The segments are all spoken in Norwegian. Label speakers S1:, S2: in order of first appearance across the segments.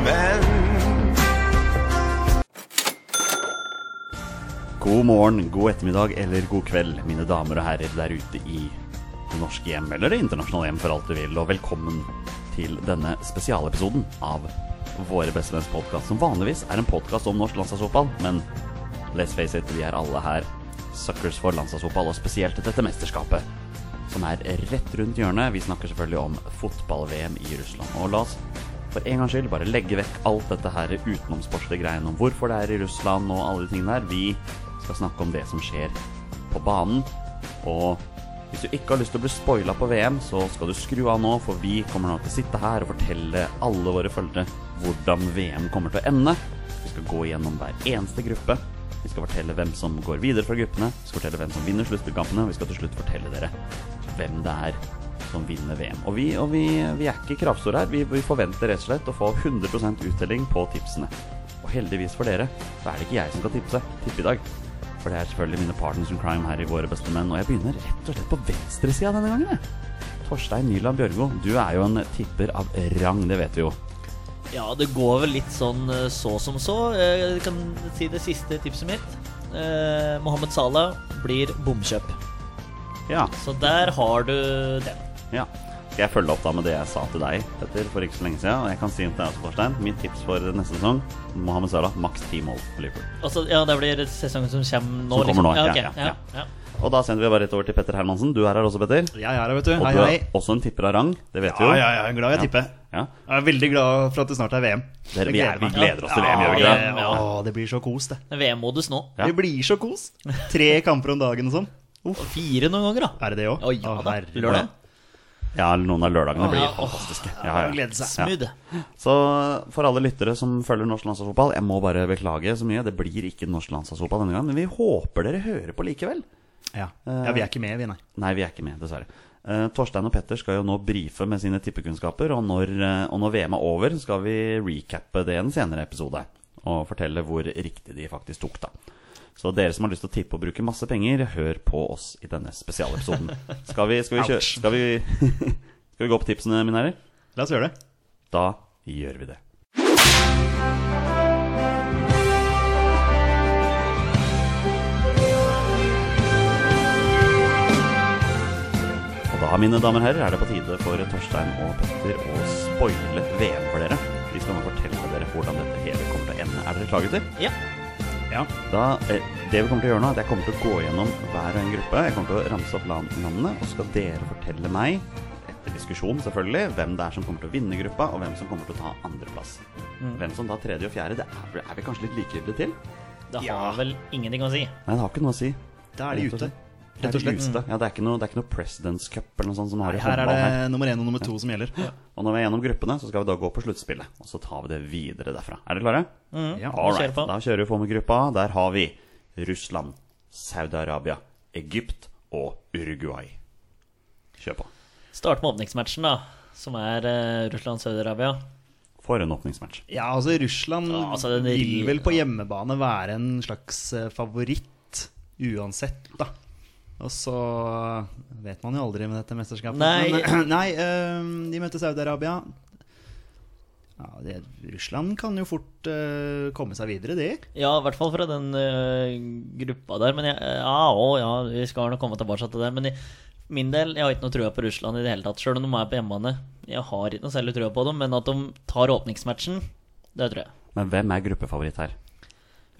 S1: menn.
S2: God morgen, god ettermiddag eller god kveld, mine damer og herrer der ute i det norske hjem, eller det internasjonale hjem for alt du vil, og velkommen til denne spesialepisoden av Våre bestemenns podkast, som vanligvis er en podkast om norsk landslagsfotball, men let's face it, vi er alle her suckers for landslagsfotball, og spesielt dette mesterskapet, som er rett rundt hjørnet. Vi snakker selvfølgelig om fotball-VM i Russland, og la oss for en gangs skyld bare legge vekk alt dette her utenomsportslige greiene om hvorfor det er i Russland og alle de tingene der. Vi skal snakke om det som skjer på banen. Og hvis du ikke har lyst til å bli spoila på VM, så skal du skru av nå, for vi kommer nå til å sitte her og fortelle alle våre følgere hvordan VM kommer til å ende. Vi skal gå gjennom hver eneste gruppe. Vi skal fortelle hvem som går videre fra gruppene, vi skal fortelle hvem som vinner sluttspillkampene, og vi skal til slutt fortelle dere hvem det er som vinner VM. Og vi, og vi, vi er ikke kravstore her. Vi, vi forventer rett og slett å få 100 uttelling på tipsene. Og heldigvis for dere, så er det ikke jeg som skal tipse. Tippe i dag. For det er selvfølgelig mine partners in crime her i Våre beste menn, og jeg begynner rett og slett på venstresida denne gangen, jeg. Torstein Nyland Bjørgo, du er jo en tipper av rang, det vet vi jo.
S3: Ja, det går vel litt sånn eh, så som så. Eh, Jeg kan si det siste tipset mitt. Eh, Mohammed Salah blir bomkjøp.
S2: Ja.
S3: Så der har du den.
S2: Ja. Skal jeg følge opp da med det jeg sa til deg Petter, for ikke så lenge siden? Og jeg kan si til deg også, Torstein, mitt tips for neste sesong Mohammed Salah, maks ti mål for Liverpool.
S3: Altså, ja, det blir sesongen som kommer nå.
S2: Som kommer nå,
S3: liksom.
S2: ja,
S3: ok,
S2: ja,
S3: ja, ja.
S2: Og da sender vi bare rett over til Petter Hermansen. Du er her også, Petter.
S4: Jeg er her, vet du.
S2: Og
S4: Hei,
S2: du
S4: hei.
S2: er også en tipper av rang. Det vet
S4: Ja,
S2: vi jo.
S4: ja, jeg er glad i å
S2: Ja.
S4: tippe.
S2: Ja.
S4: Jeg er veldig glad for at det snart er VM.
S2: Dere,
S4: Jeg
S2: vi, er, vi
S4: meg.
S2: gleder oss til VM,
S4: Ja,
S2: gjør vi
S4: det,
S2: ikke det?
S3: ja.
S4: Å, det blir så kos, det.
S3: VM-modus nå.
S2: Ja.
S4: Det blir så kos. Tre kamper om dagen og sånn.
S3: Og Fire noen ganger, da.
S4: Er det det òg?
S3: Å, ja da. Lørdag.
S2: Ja, noen av lørdagene blir
S3: Ja, åh.
S2: fantastiske. Ja, ja.
S4: Glede seg.
S3: Smooth.
S2: Så for alle lyttere som følger norsk landslagsfotball, jeg må bare beklage så mye. Det blir ikke norsk landslagsfotball denne gangen, men vi håper dere hører på likevel.
S4: Ja. ja, vi er ikke med, vi, nei.
S2: Nei, vi er ikke med, dessverre. Eh, Torstein og Petter skal jo nå brife med sine tippekunnskaper, og når, eh, og når VM er over, så skal vi recappe det i en senere episode. Og fortelle hvor riktig de faktisk tok, da. Så dere som har lyst til å tippe og bruke masse penger, hør på oss i denne spesialepisoden. Skal vi, skal vi kjøre
S4: Ouch.
S2: skal vi, skal vi gå på tipsene, mine herrer?
S4: La oss gjøre det.
S2: Da gjør vi det. Og da, mine damer og herrer, er det på tide for Torstein og Petter å spoile VM for dere. De skal nå fortelle dere hvordan dette hele kommer til å ende. Er dere klare, gutter?
S3: Ja.
S4: Ja.
S2: Da, eh, det vi kommer til å gjøre nå, er at jeg kommer til å gå gjennom hver en gruppe. Jeg kommer til å ramse opp land- landene, og så skal dere fortelle meg, etter diskusjon selvfølgelig, hvem det er som kommer til å vinne gruppa, og hvem som kommer til å ta andreplass.
S4: Mm.
S2: Hvem som da tredje og fjerde, det er, vel- er vi kanskje litt likegyldige til?
S3: Det
S4: Ja.
S3: har vel ingenting å si.
S2: Nei, det har ikke noe å si.
S4: Da er de
S2: Rett og
S4: ute.
S2: slett. Det er de ute. Ja, det er ikke noe, det er ikke noe President's Cup eller noe sånt som har i
S4: Mm. Her er
S2: håndball
S4: det
S2: her.
S4: nummer én og nummer to som gjelder.
S2: Og når vi er gjennom gruppene, så skal vi da gå på sluttspillet, og så tar vi det videre derfra. Er dere klare?
S4: Ja.
S2: All
S3: kjører
S2: right.
S3: på.
S2: Da kjører vi på med gruppa. Der har vi Russland, Saudi-Arabia, Egypt og Uruguay. Kjør på.
S3: Start med åpningsmatchen, da. Som er eh, Russland-Saudi-Arabia.
S2: For en åpningsmatch.
S4: Ja, altså Russland
S3: Ja, altså, den-
S4: vil vel på hjemmebane være en slags eh, favoritt uansett, da. Og så vet man jo aldri med dette mesterskapet.
S3: Nei.
S4: Men, nei eh, de møter Saudi-Arabia. Ja, det, Russland kan jo fort eh, komme seg videre, de.
S3: Ja, i hvert fall fra den eh, gruppa der. Men jeg, ja, å, ja, vi skal nok komme tilbake til det. Men i min del, jeg har ikke noe trua på Russland i det hele tatt. Sjøl om de er på hjemmebane. Jeg har ikke noe særlig trua på dem, men at de tar åpningsmatchen, det tror jeg.
S2: Men hvem er gruppefavoritt her?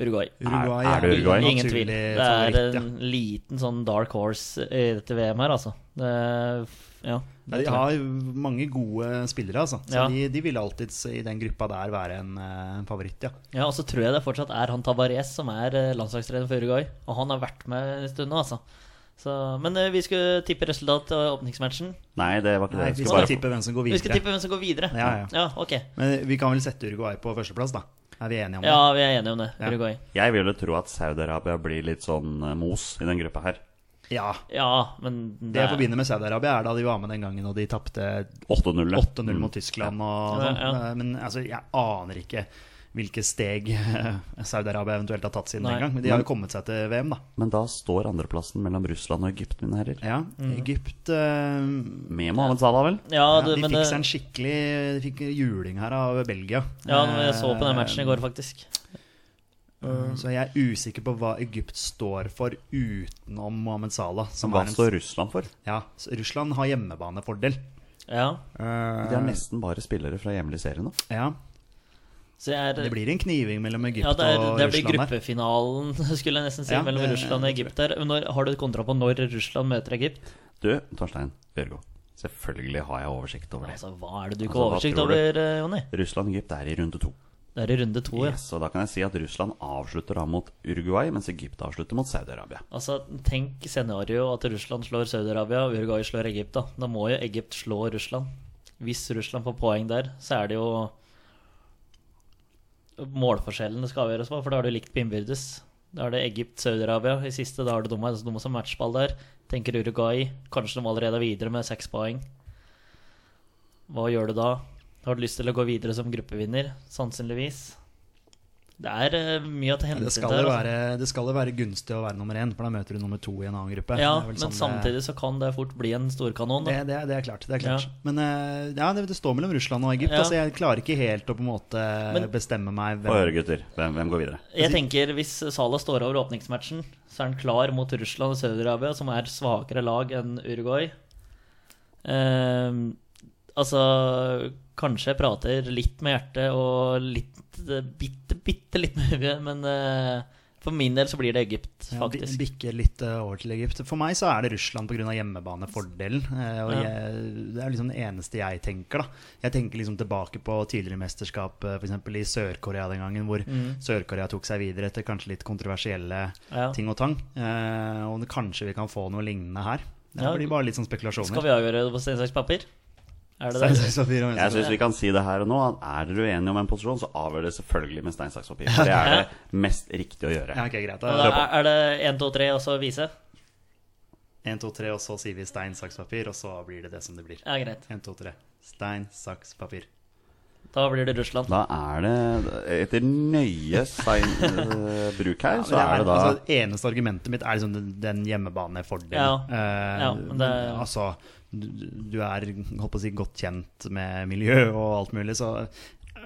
S3: Uruguay.
S4: Uruguay
S2: er det Uruguay?
S3: Ingen tvil. Det
S4: naturlig
S3: er
S4: favoritt, ja.
S3: en liten sånn dark horse i dette VM her, altså. Det, ja,
S4: Ja,
S3: det
S4: De
S3: tror jeg.
S4: har mange gode spillere, altså. Så
S3: Ja.
S4: de, de vil alltids i den gruppa der være en eh, favoritt, ja.
S3: ja, og så tror jeg det fortsatt er han Tabarez som er eh, landslagstrener for Uruguay. Og han har vært med en stund nå, altså. Så, men eh, vi skulle tippe resultat av åpningsmatchen.
S2: Nei, det var ikke
S4: Nei,
S2: det.
S4: vi
S2: Jeg
S4: skal
S2: skulle bare...
S4: tippe hvem som går
S3: Vi skal
S4: videre.
S3: tippe hvem som går videre.
S4: Ja, ja.
S3: ok.
S4: Men vi kan vel sette Uruguay på førsteplass, da. Er vi enige om det?
S3: Ja, vi er enige om det.
S4: Ja.
S3: Uruguay.
S2: Jeg vil jo tro at Saudi-Arabia blir litt sånn eh, mos i den gruppa her.
S4: Ja.
S3: Ja, men
S4: Det jeg forbinder med Saudi-Arabia, er da de var med den gangen og de tapte
S2: 8-0. Mm.
S4: 8-0 mot Tyskland
S3: Ja,
S4: og sånn.
S3: ja.
S4: Men altså, jeg aner ikke. hvilke steg eh, Saudi-Arabia eventuelt har tatt siden
S3: Nei.
S4: den gang. Men
S2: Mm.
S4: de har jo kommet seg til VM, da.
S2: Men da står andreplassen mellom Russland og Egypt, mine herrer.
S4: Ja, Egypt eh,
S2: Med Mohammed Salah, vel?
S3: Mm. Ja,
S4: ja,
S3: det,
S4: De
S3: men
S4: fikk
S3: det,
S4: seg en skikkelig De fikk juling her av Belgia.
S3: ja, jeg så på den matchen i går, faktisk.
S4: Eh, Så jeg er usikker på hva Egypt står for utenom Mohammed Salah. Som
S2: Hva
S4: er en,
S2: står Russland for?
S4: ja, så Russland har hjemmebanefordel.
S3: Ja,
S4: Eh,
S2: De har nesten bare spillere fra hjemlig serie nå.
S4: ja,
S3: så jeg er
S4: det blir en kniving mellom Egypt
S3: Ja, det, er,
S4: og
S3: det blir
S4: Russland her.
S3: gruppefinalen, skulle jeg nesten si,
S4: Ja,
S3: mellom
S4: det-
S3: Russland og Egypt der. Men Når, har du et kontra på når Russland møter Egypt?
S2: Du, Torstein Bjørgo. Selvfølgelig har jeg oversikt over det.
S3: Altså, Hva er det du ikke
S2: Altså, hva
S3: har oversikt
S2: tror du?
S3: over, eh, Jonny?
S2: Russland-Egypt er i runde to.
S3: Det er i runde to, ja.
S2: Yes, og da kan jeg si at Russland avslutter da mot Uruguay, mens Egypt avslutter mot Saudi-Arabia.
S3: Altså, Tenk scenario at Russland slår Saudi-Arabia og Uruguay slår Egypt. Da Da må jo Egypt slå Russland. Hvis Russland får poeng der, så er det jo målforskjellen det skal avgjøres på, for da er det jo likt på innbyrdes. Da er det Egypt-Saudi-Arabia i siste, da er det dumme, dumme som matchball der. Tenker Uruguay, kanskje de allerede er videre med seks poeng. Hva gjør du da? Har du lyst til å gå videre som gruppevinner? Sannsynligvis. Det er eh, mye å ta hensyn
S4: Det skal,
S3: til her,
S4: jo
S3: altså.
S4: være, det skal jo være gunstig å være nummer én, for da møter du nummer to i en annen gruppe.
S3: Ja,
S4: Det er vel
S3: men
S4: sånn det-
S3: samtidig så kan det fort bli en storkanon.
S4: Det,
S3: Da.
S4: det, er- det er klart. Det er klart.
S3: Ja.
S4: Men eh, ja, det, det står mellom Russland og Egypt.
S3: Ja.
S4: Altså, jeg klarer ikke helt å på en måte
S3: Men-
S4: bestemme meg
S2: Få
S4: hvem
S2: høre, gutter. Hvem, hvem går videre?
S3: Jeg tenker Hvis Salah står over åpningsmatchen, så er han klar mot Russland og Saudi-Arabia, som er svakere lag enn Uruguay. Ehm, altså Kanskje jeg prater litt med hjertet og litt eh, bitte, bitte litt med huet, men eh, for min del så blir det Egypt,
S4: Ja, bi-
S3: faktisk.
S4: bikker litt eh, over til Egypt. For meg så er det Russland pga. hjemmebanefordelen. eh, Og
S3: Ja.
S4: jeg, det er liksom det eneste jeg tenker, da. Jeg tenker liksom tilbake på tidligere mesterskap, f.eks. i Sør-Korea den gangen, hvor Sør-Korea tok seg videre etter kanskje litt kontroversielle
S3: Mm. Ja.
S4: ting og tang. Eh, Og det- kanskje vi kan få noe lignende her. Det
S3: Ja.
S4: blir bare litt sånn
S3: Skal
S4: spekulasjoner.
S3: vi avgjøre det på stein, saks, papir? Er det
S4: Stein,
S3: det?
S4: saks, papir og
S2: Jeg
S4: mønster.
S2: syns vi kan si det her og nå. at Er dere uenige om en posisjon, så avgjør det selvfølgelig med stein, saks, papir. For Det er det mest riktige å
S4: Ja,
S2: gjøre.
S4: ok, greit.
S3: Og
S4: Da-
S3: da Er er det én, to, tre, og så vise?
S4: Én, to, tre, og så sier vi stein, saks, papir, og så blir det det som det blir.
S3: Ja, greit.
S4: Én, to, tre. Stein, saks, papir.
S3: Da blir det Russland.
S2: Da er det Etter nøye stein, eh, bruk her, så er det da
S4: altså, det eneste argumentet mitt er liksom den, den hjemmebanefordelen.
S3: Ja.
S4: Eh,
S3: Ja, men det-
S4: Altså, du, du er holdt på å si, godt kjent med miljø og alt mulig, så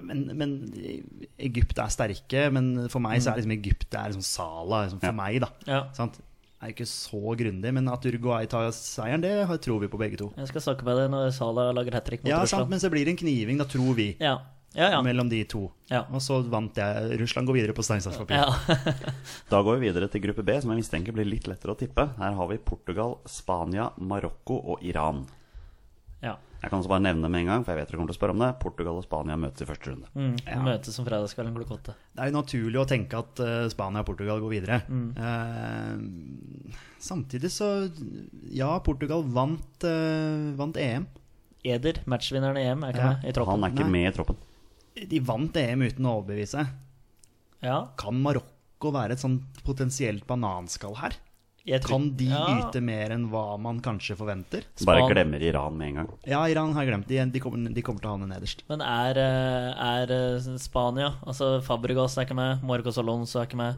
S4: men, men Egypt er sterke, men for meg så er liksom Egypt det er liksom Sala liksom for
S2: Ja.
S4: meg, da.
S3: Ja.
S4: Sant? Det er jo ikke så grundig, men at Uruguay tar seieren, det har- tror vi på begge to.
S3: Jeg skal snakke med deg når Salah lager hat trick mot
S4: Ja, sant,
S3: Russland.
S4: men så blir det en kniving, da tror vi,
S3: Ja, ja. ja.
S4: mellom de to.
S3: ja.
S4: Og så vant jeg. Russland går videre på stein, saks, papir.
S3: ja.
S2: Da går vi videre til gruppe B, som jeg mistenker blir litt lettere å tippe. Her har vi Portugal, Spania, Marokko og Iran.
S3: ja.
S2: Jeg kan også bare nevne det med en gang, for jeg vet dere kommer til å spørre om det. Portugal og Spania møtes i første runde.
S3: Mm.
S4: Ja.
S3: Møtes om fredagskvelden klokka åtte.
S4: Det er jo naturlig å tenke at eh, Spania og Portugal går videre. Eh, samtidig så Ja, Portugal vant, eh, vant EM.
S3: Eder, matchvinneren i EM, er ikke
S4: Ja.
S3: med i troppen.
S2: Han er ikke
S4: Nei.
S2: med i troppen.
S4: De vant EM uten å overbevise.
S3: Ja.
S4: Kan Marokko være et sånn potensielt bananskall her?
S3: Jeg tror-
S4: Kan de
S3: Ja.
S4: yte mer enn hva man kanskje forventer?
S2: Bare
S3: Span-
S2: glemmer Iran med en gang.
S4: Ja, Iran har jeg glemt. De, de, kommer, de kommer til å havne nederst.
S3: Men er, eh, er eh, Spania Altså Fabregas er ikke med, Marcos Alonso er ikke med.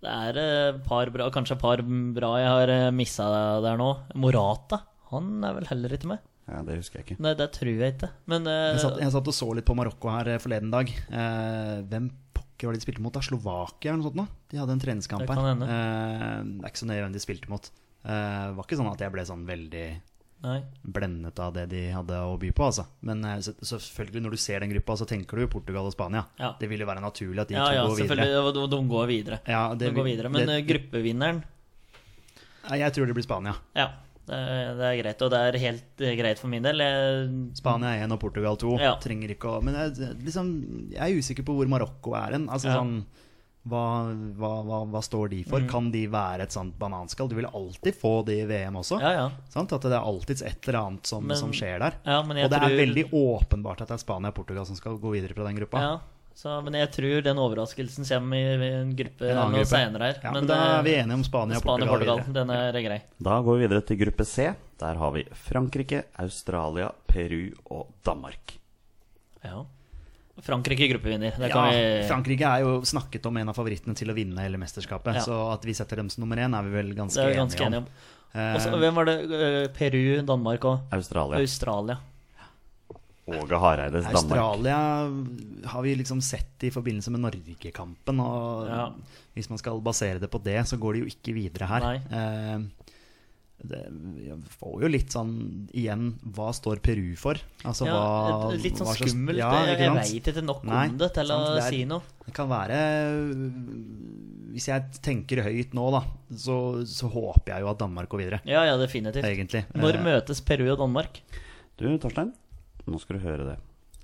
S3: Det er eh, par bra, kanskje et par bra jeg har missa der nå. Morata, han er vel heller ikke med?
S2: Ja, det husker jeg ikke.
S3: Nei, det tror jeg ikke. Men eh,
S4: Jeg satt, jeg satt og så litt på Marokko her eh, forleden dag. Eh, hvem pokker var det de spilte mot? da? Slovakia eller noe sånt? nå? De hadde en treningskamp
S3: Det
S4: her.
S3: kan hende.
S4: Eh, det er ikke så nøye hvem de spilte mot. Eh, det var ikke sånn at jeg ble sånn veldig
S3: nei.
S4: blendet av det de hadde å by på, altså. Men eh, så, selvfølgelig, når du ser den gruppa, så tenker du jo Portugal og Spania.
S3: Ja.
S4: Det ville være naturlig at de
S3: Ja,
S4: to
S3: ja,
S4: går videre.
S3: selvfølgelig. De, de går videre.
S4: Ja,
S3: De går
S4: vil-
S3: videre. Men eh,
S4: det,
S3: gruppevinneren
S4: Nei, Jeg tror det blir Spania.
S3: Ja, det er, det er greit. Og det er helt eh, greit for min del. Jeg,
S4: Spania 1 og Portugal 2.
S3: Ja.
S4: Trenger ikke å Men jeg, liksom, jeg er usikker på hvor Marokko er hen. Altså,
S3: Ja. Mm.
S4: sånn, hva, hva, hva, hva står de for? Kan de være et sånt bananskall? Du vil alltid få det i VM også.
S3: ja, ja.
S4: Sant? At det er alltids et eller annet som,
S3: Men-
S4: som skjer der.
S3: ja men jeg
S4: Og det
S3: tror,
S4: er veldig åpenbart at det er Spania og Portugal som skal gå videre fra den gruppa.
S3: ja, så, Men jeg tror den overraskelsen kommer i, i en gruppe
S4: En annen
S3: noe
S4: gruppe.
S3: senere her. eh,
S4: Ja, men, da er vi enige om Spania og Portugal.
S3: Spania-Portugal,
S4: videre.
S3: den er grei.
S2: Da går vi videre til gruppe C. Der har vi Frankrike, Australia, Peru og Danmark.
S3: Ja. Frankrike gruppevinner. Det
S4: Ja,
S3: kan vi
S4: Frankrike er jo snakket om en av favorittene til å vinne hele mesterskapet.
S3: Ja.
S4: Så at vi setter dem som nummer én, er vi vel ganske,
S3: det er vi ganske enige om. Og så,
S4: Eh,
S3: hvem var det? Eh, Peru, Danmark og
S2: Australia.
S3: Australia.
S2: Åge Hareides Danmark.
S4: Australia har vi liksom sett i forbindelse med Norgekampen, og
S3: Ja.
S4: hvis man skal basere det på det, så går de jo ikke videre her.
S3: Nei.
S4: Eh, det jeg får jo litt sånn igjen Hva står Peru for? Altså,
S3: Ja,
S4: hva,
S3: et- litt sånn
S4: hva slags-
S3: skummelt.
S4: Ja,
S3: jeg
S4: ikke
S3: jeg
S4: sant?
S3: veit ikke nok
S4: Nei,
S3: om det til å
S4: sant, det er-
S3: si noe.
S4: Det kan være Hvis jeg tenker høyt nå, da, så, så håper jeg jo at Danmark går videre.
S3: Ja, ja, definitivt.
S4: Egentlig.
S3: Når
S4: Eh,
S3: møtes Peru og Danmark?
S2: Du, Torstein, nå skal du høre det.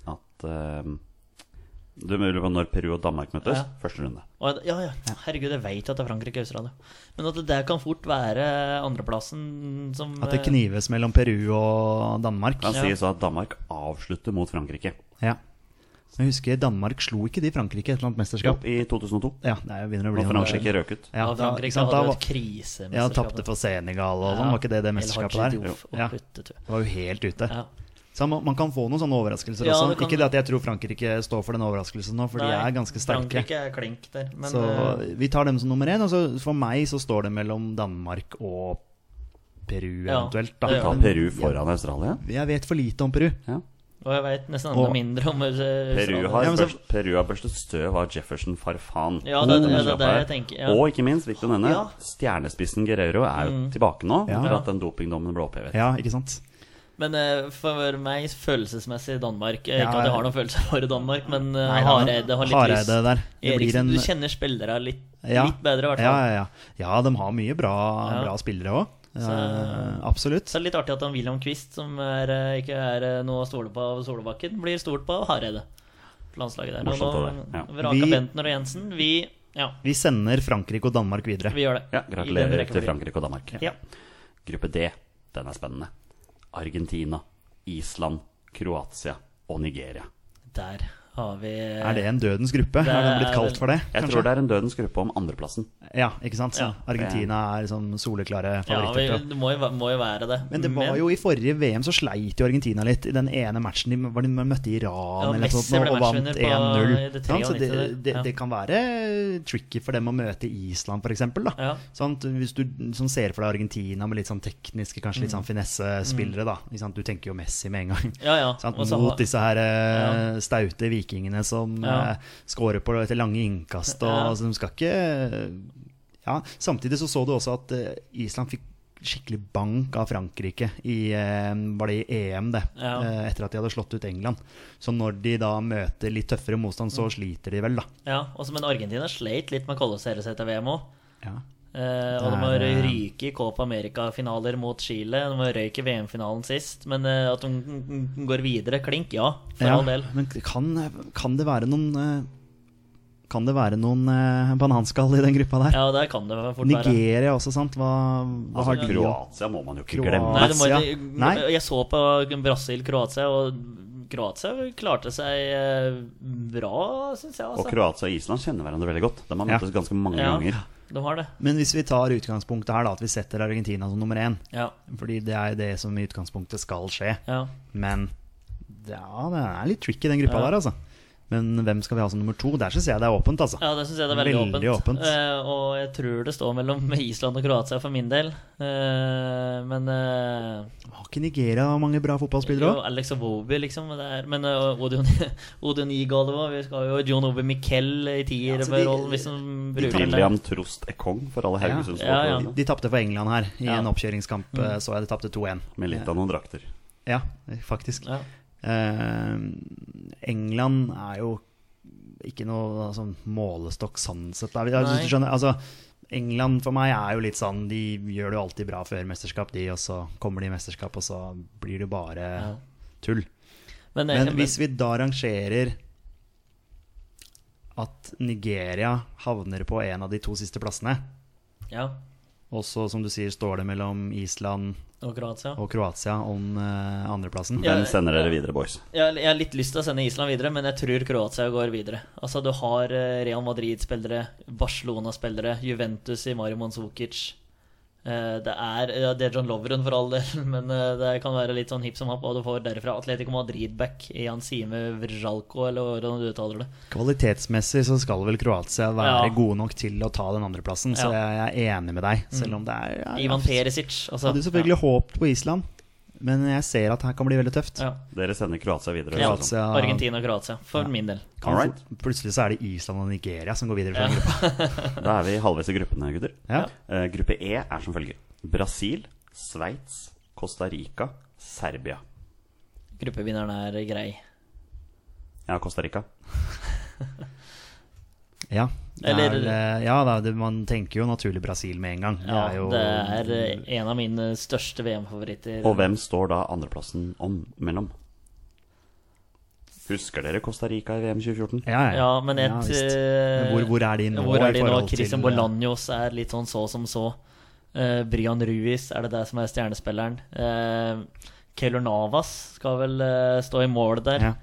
S2: At ehm, Du lurer på når Peru og Danmark møtes?
S3: Ja.
S2: Første runde.
S3: Og, ja, ja, herregud, jeg veit at det er Frankrike og Australia. Men at det der kan fort være andreplassen som
S4: At det
S3: eh,
S4: knives mellom Peru og Danmark.
S2: Kan
S3: Ja.
S2: sies at Danmark avslutter mot Frankrike.
S4: Ja. Men Jeg husker Danmark slo ikke de Frankrike i et eller annet mesterskap.
S2: I 2002.
S4: Ja, det er- begynner å bli
S2: Når
S4: noen år siden.
S2: Frankrike røk ut.
S4: Ja,
S3: Ja,
S4: da, ikke
S3: Frankrike hadde
S4: sant, da
S3: jo
S4: var,
S3: et krisemesterskap.
S4: ja, tapte for Senegal og sånn, var ikke det det mesterskapet der?
S3: der?
S4: Ja,
S3: Ja.
S4: det var jo helt ute.
S3: Ja.
S4: Så man, man kan få noen sånne overraskelser
S3: Ja,
S4: også.
S3: det kan-
S4: Ikke det at jeg tror Frankrike står for den overraskelsen nå, for de
S3: Nei,
S4: er ganske sterke.
S3: Frankrike er klink der, men
S4: så
S3: eh,
S4: vi tar dem som nummer én. Og så for meg så står det mellom Danmark og Peru
S3: Ja,
S4: eventuelt.
S3: det
S4: Da.
S3: gjør
S2: Ta
S3: Ja.
S2: Peru foran Australia?
S4: Jeg vet for lite om Peru.
S2: Ja.
S3: Og jeg veit nesten enda
S4: Og-
S3: mindre om eh,
S2: Peru
S3: Australia.
S2: har,
S4: Ja, men så-
S2: børst, Peru har børstet støv av Jefferson Farfan.
S3: Ja, det-
S2: I
S3: det- det- det-
S2: mesterskapet
S3: det-
S2: her.
S3: jeg tenker, ja.
S2: Og ikke minst, viktig å nevne,
S3: Ja. Mm.
S2: stjernespissen Guerrero er jo tilbake nå.
S4: Ja.
S2: Etter at den dopingdommen ble opphevet.
S4: Ja, ikke sant?
S3: Men eh, for meg følelsesmessig Danmark. Eh,
S4: Ja,
S3: ikke at jeg
S4: ja.
S3: har noen følelser for Danmark, men eh,
S4: Nei, da, men
S3: Hareide har litt
S4: Hareide der.
S3: lyst.
S4: Det blir
S3: Eriksen,
S4: en
S3: du kjenner spillere litt,
S4: Ja.
S3: litt bedre, i hvert
S4: Ja,
S3: fall.
S4: ja, ja. ja, de har mye bra,
S3: Ja.
S4: bra spillere òg.
S3: Så-
S4: absolutt.
S3: Så er det litt artig at han William Quist, som er, eh, ikke er eh, noe å stole på av Solbakken, blir stolt på av Hareide. på Landslaget der.
S2: Morsomt
S3: Og nå,
S2: av deg, ja.
S3: Vraka
S4: Vi-
S3: Bentner og Jensen, vi Ja,
S4: Vi sender Frankrike og Danmark videre.
S3: vi gjør det.
S2: Ja,
S3: I den
S2: gratulerer til
S3: rekkefølgen.
S2: Frankrike og Danmark.
S3: Ja.
S2: Gruppe D, den er spennende. Argentina, Island, Kroatia og Nigeria.
S3: Der har vi
S4: Er det en dødens gruppe?
S3: Det
S4: Har den blitt
S3: er
S4: kalt for det?
S2: Jeg tror det er en dødens gruppe om andreplassen.
S4: Ja, ikke sant?
S3: Ja.
S4: Argentina er liksom soleklare
S3: Ja,
S4: favoritter.
S3: vi,
S4: til å-
S3: det må jo, væ- må jo være det.
S4: Men det var jo i forrige VM så sleit jo Argentina litt. I den ene matchen de, var de møtte Iran
S3: Ja,
S4: eller noe
S3: Messi
S4: sånt, nå,
S3: ble
S4: og vant
S3: matchvinner på-
S4: 1-0.
S3: i det
S4: Sant? Så det,
S3: 93,
S4: det,
S3: ja.
S4: det kan være tricky for dem å møte Island, f.eks.
S3: Ja.
S4: Hvis du sånn, ser for deg Argentina med litt sånn tekniske, kanskje litt sånn finessespillere, da. Ikke sant? Du tenker jo Messi med en gang.
S3: Mm. Ja, ja.
S4: Sant?
S3: og så
S4: Mot
S3: har-
S4: disse her eh, staute vikingene som
S3: Ja.
S4: eh, scorer på etter lange innkast. Og,
S3: Ja.
S4: så de skal ikke ja. Samtidig så så du også at eh, Island fikk skikkelig bank av Frankrike i eh, var det i EM, det.
S3: Ja.
S4: eh, etter at de hadde slått ut England. Så når de da møter litt tøffere motstand,
S3: Mm.
S4: så sliter de vel, da.
S3: Ja, også, men Argentina sleit litt med å kvalifisere seg til VM òg.
S4: Ja.
S3: Eh, og de
S4: Nei,
S3: har
S4: det-
S3: ryke i Copa America-finaler mot Chile. De har røyk i VM-finalen sist. Men eh, at de mm, mm, går videre, klink, ja. For
S4: Ja,
S3: all del.
S4: Men kan, kan det være noen eh, Kan det være noen eh, bananskall i den gruppa der?
S3: Ja, der kan det fort være.
S4: Nigeria også, sant? Hva, hva har
S2: Altså,
S4: de å
S2: Kroatia må man jo ikke
S4: Kroatia.
S2: glemme.
S3: Nei, det må,
S4: Kroatia? Nei.
S3: Jeg så på Brasil-Kroatia, og Kroatia klarte seg eh, bra, syns jeg.
S2: Og
S3: Altså.
S2: Kroatia og Island kjenner hverandre veldig godt. De har
S4: Ja.
S2: møttes ganske mange
S3: Ja.
S2: ganger.
S3: De har det.
S4: Men hvis vi tar utgangspunktet her, da, at vi setter Argentina som nummer én
S3: Ja.
S4: Fordi det er jo det som i utgangspunktet skal skje.
S3: ja.
S4: Men ja, det er litt tricky, den gruppa
S3: Ja.
S4: der, altså. Men hvem skal vi ha som nummer to? Der syns jeg det er åpent, altså.
S3: Ja, det syns jeg det er veldig,
S4: Veldig åpent.
S3: Eh, og jeg tror det står mellom Island og Kroatia for min del. Eh, men eh,
S4: Har ikke Nigeria mange bra fotballspillere
S3: Jo,
S4: òg?
S3: Alex Owobi, liksom. Det er, men uh, Odion, Odion Igalovo Vi skal jo John Obi Miquel i
S4: Ja, altså, de-
S3: tierrollen, hvis han
S4: de
S3: bruker den.
S2: William Trost Ekong for alle Haugesunds
S3: Ja, ja.
S2: folk.
S4: De tapte for England her i
S3: Ja. Mm.
S4: en oppkjøringskamp, eh, så jeg de tapte 2-1.
S2: Med litt av noen drakter.
S4: Ja, faktisk.
S3: Ja.
S4: Eh, England er jo ikke noe altså, målestokk sånn sett. da. Ja, Hvis du skjønner, altså, England for meg er jo litt sånn De gjør det jo alltid bra før mesterskap, de, og så kommer de i mesterskap, og så blir det bare
S3: Ja.
S4: tull.
S3: Men, eh,
S4: Men hvis vi da rangerer at Nigeria havner på en av de to siste plassene,
S3: Ja,
S4: og så som du sier står det mellom Island
S3: og Kroatia.
S4: og Kroatia om eh, andreplassen
S3: Ja.
S2: Den sender dere videre, boys.
S3: Jeg, har- jeg har litt lyst til å sende Island videre, men jeg tror Kroatia går videre. Altså, du har eh, Real Madrid-spillere, Barcelona-spillere, Juventus i Mario Mandzukic. Eh, Eh, Det er, ja, det er John Lovren for all del, men eh, det kan være litt sånn hipp som happ hva du får derfra. Atletico Madrid-back Jan Sime Vrjalko, eller hvordan du uttaler det.
S4: Kvalitetsmessig så skal vel Kroatia være
S3: Ja.
S4: gode nok til å ta den andreplassen, så
S3: Ja. Mm.
S4: jeg jeg er enig med deg. Selv om det er ja,
S3: Ivan
S4: Jeg
S3: Perisic. Altså,
S4: hadde jo selvfølgelig håpet på Island, men jeg ser at her kan bli veldig tøft.
S3: Ja.
S2: Dere sender Kroatia videre.
S3: Ja.
S2: altså.
S4: Kroatia-
S3: Argentina og Kroatia, for min del.
S4: Kan
S2: All right.
S4: fort- Plutselig så er det Island og Nigeria som går videre fra gruppa.
S2: Da er vi halvveis i gruppene, gutter.
S4: Ja.
S2: Eh, gruppe E er som følger Brasil, Sveits, Costa Rica, Serbia.
S3: Gruppevinneren er grei.
S2: Ja, Costa Rica.
S4: Ja, det er,
S3: Eller-
S4: eh, ja da, det, man tenker jo naturlig Brasil med en gang. Det
S3: Ja,
S4: er jo
S3: det er eh, en av mine største VM-favoritter.
S2: Og hvem står da andreplassen om mellom? Husker dere Costa Rica i VM 2014?
S4: ja, ja.
S3: Ja, men et
S4: visst.
S3: eh,
S4: Men hvor, hvor er de nå?
S3: Hvor
S4: i
S3: er de nå?
S4: forhold til-
S3: Christian Bolanjos er litt sånn så som så. Eh, Brian Ruiz er det der som er stjernespilleren. Uh, Keylor Navas skal vel eh, stå i mål der.
S4: Ja.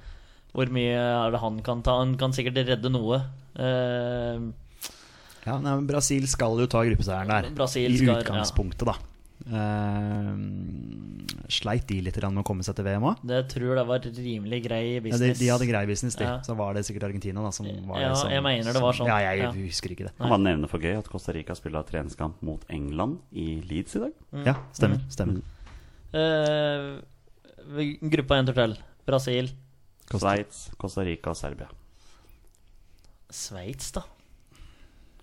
S3: Hvor mye er det han kan ta? Han kan sikkert redde noe. Eh,
S4: Ja, nei, men Brasil skal jo ta gruppeseieren der,
S3: Brasil
S4: i
S3: skal-
S4: utgangspunktet, da. Eh, sleit de litt grann med å komme seg til VM òg?
S3: det tror jeg var rimelig grei
S4: Ja, de,
S3: business.
S4: de hadde grei business, de.
S3: Ja.
S4: Så var det sikkert Argentina da, som var
S3: Ja,
S4: det som,
S3: jeg mener det var
S4: som-
S3: sånn.
S4: Ja, jeg
S3: Ja.
S4: husker ikke det.
S2: Kan man nevne for gøy at Costa Rica spiller treningskamp mot England i Leeds i dag?
S3: Mm.
S4: Ja, stemmer. stemmer.
S3: Eh, vi- gruppa én tur til. Brasil.
S2: Sveits, Costa Rica og Serbia.
S3: Sveits, da.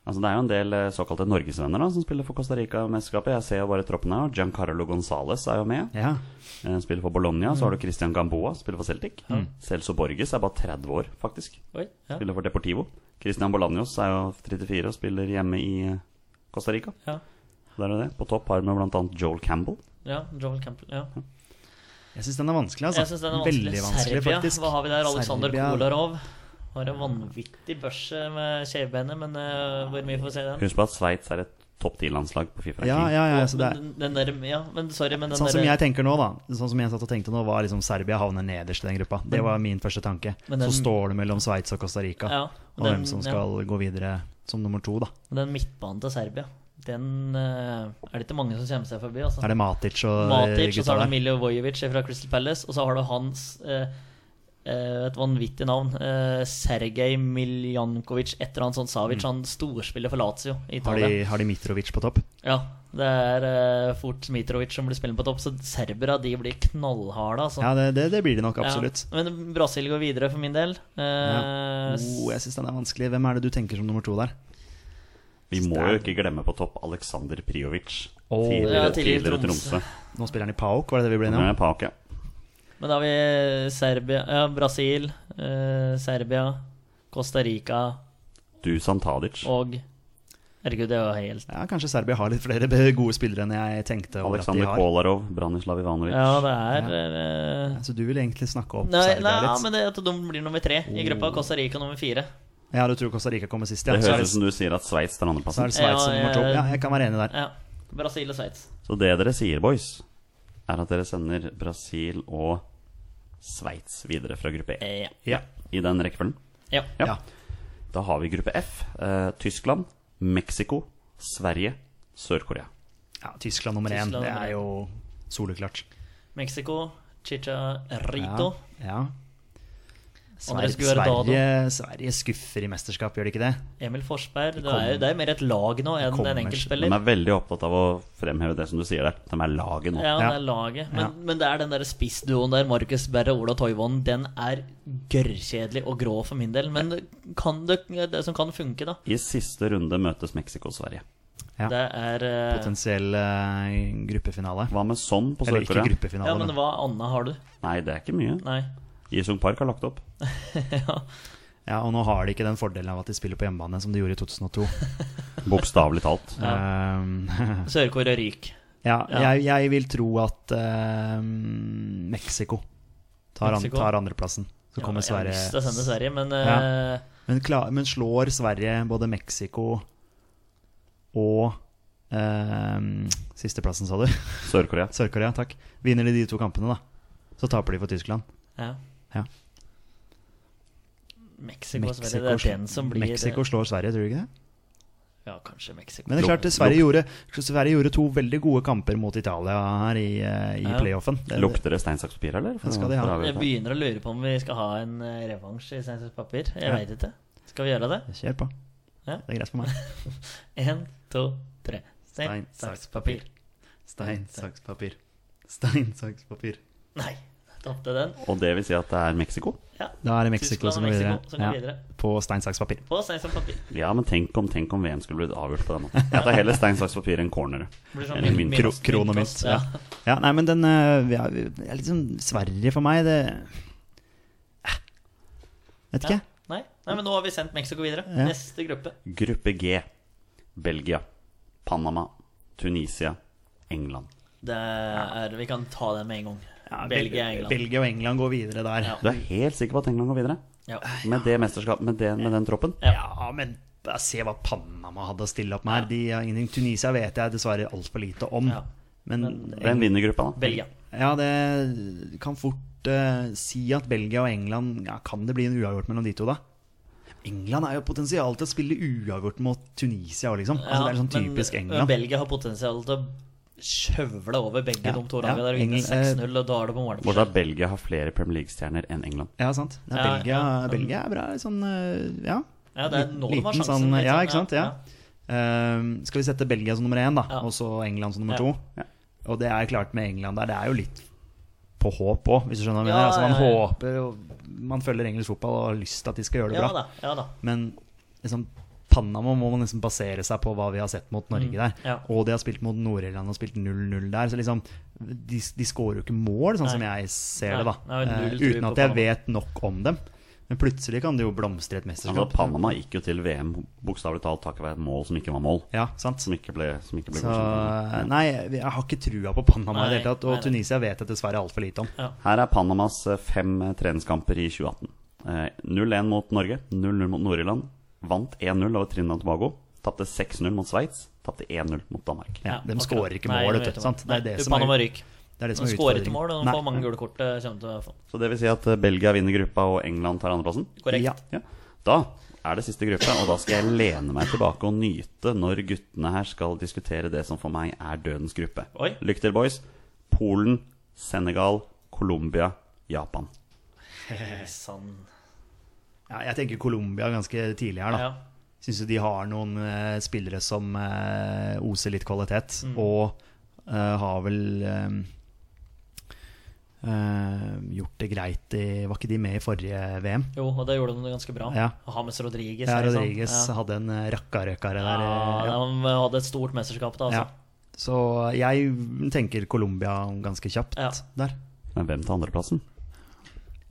S2: Altså Det er jo en del eh, såkalte norgesvenner da som spiller for Costa Rica-mesterskapet. Jeg ser jo bare troppen her. Giancarlo Gonzales er jo med.
S4: Ja.
S2: Eh, Spiller for Bologna. Så har du Christian Gamboa, spiller for Celtic. Celso Borges er bare 30 år, faktisk.
S3: Oi, ja.
S2: Spiller for Deportivo. Christian Bolanjos er jo 34 og spiller hjemme i eh, Costa Rica.
S3: Ja,
S2: Der er det. På topp har vi bl.a. Joel Campbell.
S3: ja Joel Campbell. Ja.
S4: Jeg syns den er vanskelig, altså.
S3: Jeg synes den er vanskelig.
S4: Veldig vanskelig,
S3: Serbia,
S4: faktisk.
S3: hva har vi der? Aleksandr
S4: Serbia.
S3: Kolarov. Har en vanvittig børse med skjevbenet, men eh, hvor mye får vi se den?
S2: Husk på at Sveits er et topp 10-landslag på Fifa.
S4: Ja, ja, ja, så det er,
S3: Men den, den der, ja, men sorry, men den
S4: sånn som
S3: der,
S4: jeg tenker nå, da. Sånn som jeg satt og tenkte nå, var liksom Serbia havner nederst i den gruppa. Det var min første tanke.
S3: Men
S4: Så
S3: den-
S4: står det mellom Sveits og Costa Rica,
S3: ja,
S4: og hvem som skal gå videre som nummer to, da.
S3: ja, Den midtbanen til Serbia, den eh, er det ikke mange som kommer seg forbi. Altså.
S4: Er det Matic og
S3: Matic, og så
S4: gutta
S3: har du
S4: der?
S3: Miljo Vojevic fra Crystal Palace, og så har du hans eh, eh, et vanvittig navn. Eh, Sergej Miljankovic, et eller annet sånt Savic. Han storspiller for Lazio i
S4: Mm. Har
S3: Italia.
S4: de, har de Mitrovic på topp?
S3: Ja, det er eh, fort Mitrovic som blir spillende på topp, så serbere de blir knallharde. Altså.
S4: Ja, det, det, det blir de nok, absolutt.
S3: Ja, Men Brasil går videre for min del. Eh,
S4: Oh, jeg syns den er vanskelig. Hvem er det du tenker som nummer to der?
S2: Vi må jo ikke glemme på topp Aleksandr Priovic.
S4: Åh.
S2: Tidligere,
S3: Ja, tidligere
S2: tidligere
S3: Tromsø.
S2: Tromsø.
S4: Nå spiller han i Paok, var det det vi ble
S2: Han
S4: enige
S2: er
S4: om?
S2: Paok, ja.
S3: Men da har vi Serbia, ja, Brasil, eh, Serbia, Costa Rica
S2: Dusan Tadic.
S3: og Herregud, det var helt
S4: Ja, Kanskje Serbia har litt flere be- gode spillere enn jeg tenkte. over at de
S2: Aleksandr
S4: har.
S2: Kolarov, Branislav Ivanovic.
S3: Ja, det er eh,
S4: Så du vil egentlig snakke opp
S3: Nei,
S4: Serbia
S3: nei
S4: litt? Oh.
S3: men det, at de blir nummer tre i gruppa. Costa Rica nummer fire.
S4: Ja, du tror Costa Rica kommer sist, ja.
S2: Det
S4: Så er
S2: høres
S4: det,
S2: ut som du sier at Sveits tar
S4: så er
S2: andreplassen.
S4: det Sveits som
S3: Ja,
S4: nummer to.
S3: jeg-
S4: Ja, jeg kan være enig der.
S3: Ja. Brasil og Sveits.
S2: Så det dere sier, boys, er at dere sender Brasil og Sveits videre fra gruppe E.
S3: Eh,
S4: Ja.
S2: I den rekkefølgen.
S3: ja.
S2: Ja.
S4: Ja.
S2: Da har vi gruppe F. Eh, Tyskland, Mexico, Sverige, Sør-Korea.
S4: ja, Tyskland nummer én.
S3: Tyskland
S4: Det
S3: nummer
S4: er
S3: én.
S4: jo soleklart.
S3: Mexico, Chicharito.
S4: Ja. ja. Sverige,
S3: Andres Guardado.
S4: Sverige, Sverige skuffer i mesterskap, gjør de ikke det?
S3: Emil Forsberg. Det er, jo- det er mer et lag nå enn
S4: kommer
S3: en
S2: De
S3: enkeltspiller.
S2: er veldig opptatt av å fremheve det som du sier der. De er laget nå.
S3: Ja, det
S4: Ja.
S3: er laget. Men,
S4: Ja.
S3: men det er den der spissduoen der, Markus Berre og Ola Toivonen, den er gørrkjedelig og grå for min del. Men det kan det, det som kan funke, da,
S2: I siste runde møtes Mexico og Sverige.
S4: Ja.
S3: det er eh,
S4: Potensiell eh, gruppefinale.
S2: Hva med sånn på
S4: Eller ikke
S2: Sør-Korea?
S4: gruppefinale,
S3: Ja, men
S4: men
S3: hva annet har du?
S2: Nei, det er ikke mye.
S3: Nei.
S2: Yisung Park har lagt opp.
S4: ja, Og nå har de ikke den fordelen av at de spiller på hjemmebane, som de gjorde i 2002.
S2: Bokstavelig talt.
S4: Um,
S3: Sør-Korea ryker.
S4: ja,
S3: Ja.
S4: jeg, jeg vil tro at um, Mexico tar, an,
S3: Mexico?
S4: tar andreplassen. Så kommer
S3: Ja, Jeg har lyst til å sende
S4: Sverige
S3: Sverige, men
S4: Ja.
S3: eh,
S4: men, kla- men slår Sverige både Mexico og um, Sisteplassen, sa du?
S2: Sør-Korea.
S4: Sør-Korea, takk. Vinner de de to kampene, da, så taper de for Tyskland.
S3: ja.
S4: Ja.
S3: Mexico og Sverige, det er den som blir
S4: Mexico slår Sverige, tror du ikke det?
S3: Ja, kanskje Mexico.
S4: Men det er klart, Sverige gjorde, Sverige gjorde to veldig gode kamper mot Italia her i, eh, i
S3: Ja.
S4: playoffen. Det-
S2: Lukter det stein, saks, papir, eller?
S4: Det skal de ha.
S2: For å avgjøre
S3: Jeg
S2: det.
S3: begynner å lure på om vi skal ha en eh, revansj i Steinsaks papir. Jeg
S4: Ja.
S3: vet ikke. Skal vi gjøre det?
S4: Kjør på.
S3: Ja.
S4: Det er greit for meg.
S3: Én, to, tre. Stein,
S4: Stein,
S3: saks,
S4: saks,
S3: papir.
S4: Stein, saks, papir. Stein, saks, papir.
S3: Nei, tapte den.
S2: Og det vil si at det er Mexico?
S3: Ja.
S4: Da er det Mexico
S3: Tyskland
S4: som
S3: og
S4: går
S3: Mexico
S4: videre.
S3: som går
S4: Ja.
S3: videre.
S4: På stein, saks, papir.
S3: På stein, saks, papir.
S2: Ja, men tenk om, tenk om VM skulle blitt avgjort på den måten. Jeg tar heller stein, saks, papir enn cornere.
S3: Blir sånn
S2: Eller
S3: mynt-
S2: mynt.
S4: Kro- kron og mynt,
S3: myntkost,
S4: ja. Ja, nei, men den eh, ja, vi- det er liksom Sverige for meg, det Eh, Vet ikke.
S3: Ja. Nei. Nei, men nå har vi sendt Mexico videre.
S4: Ja.
S3: Neste gruppe.
S2: Gruppe G. Belgia, Panama, Tunisia, England.
S3: Det er, vi kan ta den med en gang.
S4: Ja,
S3: Belgia og
S4: Bel-
S3: England.
S4: Belgia og England går videre der.
S3: Ja.
S2: Du er helt sikker på at England går videre?
S3: Ja.
S2: Med det mesterskapet, med, det, med den troppen?
S3: Ja.
S4: Ja, men bare se hva Panama hadde å stille opp med her. De har ingenting. Tunisia vet jeg dessverre altfor lite om.
S3: Ja.
S4: Men
S2: Hvem vinner gruppa, da?
S3: Belgia.
S4: ja, det kan fort eh, si at Belgia og England ja, Kan det bli en uavgjort mellom de to, da? England er jo potensial til å spille uavgjort mot Tunisia òg, liksom. Altså, det er sånn
S3: men-
S4: typisk
S3: men
S4: England.
S3: Belgia har potensial til å skjøvle over begge
S4: Ja,
S3: de to lagene
S4: ja. eh,
S3: der og vinne
S4: Engel-
S3: 6-0, og da er det på målet.
S2: Bortsett fra at Belgia har flere Premier League-stjerner enn England.
S4: Ja, sant. Ja,
S3: Ja,
S4: Belgia,
S3: ja.
S4: Belgia er bra, sånn eh, Ja.
S3: Ja, det er nå de har
S4: Liten
S3: sjansen.
S4: sånn-
S3: litt
S4: ja,
S3: sånn,
S4: ikke sant, ja. Ehm, skal vi sette Belgia som nummer én, da,
S3: Ja.
S4: og så England som
S3: Ja.
S4: nummer to?
S2: Ja.
S4: Og det er klart med England der, det er jo litt på håp òg, hvis du skjønner hva jeg
S3: Ja,
S4: mener. Altså, man
S3: ja, ja.
S4: håper og man følger engelsk fotball og har lyst til at de skal gjøre det
S3: Ja
S4: bra.
S3: da. ja da
S4: Men liksom, Panama må man liksom basere seg på hva vi har sett mot Norge der.
S3: Mm. ja.
S4: Og de har spilt mot Nord-Irland og spilt 0-0 der. Så liksom, de, de skårer jo ikke mål, sånn som
S3: Nei.
S4: jeg ser
S3: Nei.
S4: det, da.
S3: Nei,
S4: Eh,
S3: null tro
S4: uten
S3: på
S4: at jeg
S3: Panama.
S4: vet nok om dem. Men plutselig kan det jo blomstre i et
S2: Altså,
S4: mesterskap.
S2: Panama gikk jo til VM bokstavelig talt takket være et mål som ikke var mål.
S4: Ja, sant?
S2: Som ikke ble, som ikke ble
S4: Så eh,
S2: godkjent.
S4: nei, jeg har ikke trua på Panama i
S3: Nei,
S4: det hele tatt.
S3: nei,
S4: Og
S3: nei.
S4: Tunisia vet jeg dessverre altfor lite om.
S2: Her er Panamas eh, fem eh, treningskamper i 2018. Eh, 0-1 mot Norge, 0-0 mot Nord-Irland. Vant 1-0 over Trinidad og Tobago. Tapte 6-0 mot Sveits. Tapte 1-0 mot Danmark.
S4: Ja, de
S3: akkurat.
S4: skårer ikke
S3: Nei,
S4: mål,
S3: jeg
S4: vet du.
S3: om
S4: Sant? Det er
S3: Nei,
S4: det som
S3: Panama
S4: er,
S3: ryker.
S4: det er, det som
S3: De
S4: er
S3: skårer ikke
S4: utfordringen.
S3: mål, og de
S4: Nei.
S3: får mange gule kort. eh, Kommer til å få.
S2: Så det vil si at eh, Belgia vinner gruppa, og England tar andreplassen?
S3: Korrekt.
S4: Ja.
S2: Ja. Da er det siste gruppe, og da skal jeg lene meg tilbake og nyte når guttene her skal diskutere det som for meg er dødens gruppe.
S3: Oi.
S2: Lykke til, boys. Polen, Senegal, Colombia, Japan.
S3: Sann.
S4: Ja, jeg tenker Colombia ganske tidlig her, da.
S3: Ja.
S4: Syns jo de har noen eh, spillere som eh, oser litt kvalitet,
S3: Mm.
S4: og eh, har vel eh, eh, gjort det greit i Var ikke de med i forrige VM?
S3: Jo, og det gjorde de det ganske bra.
S4: Ja.
S3: James Rodriguez.
S4: Ja,
S3: er det sant?
S4: Rodriguez
S3: Ja.
S4: hadde en eh, rakkarøkare der. eh,
S3: Ja,
S4: ja.
S3: de hadde et stort mesterskap da, altså.
S4: Ja. Så jeg tenker Colombia ganske kjapt
S3: Ja.
S4: der.
S2: Men hvem tar andreplassen?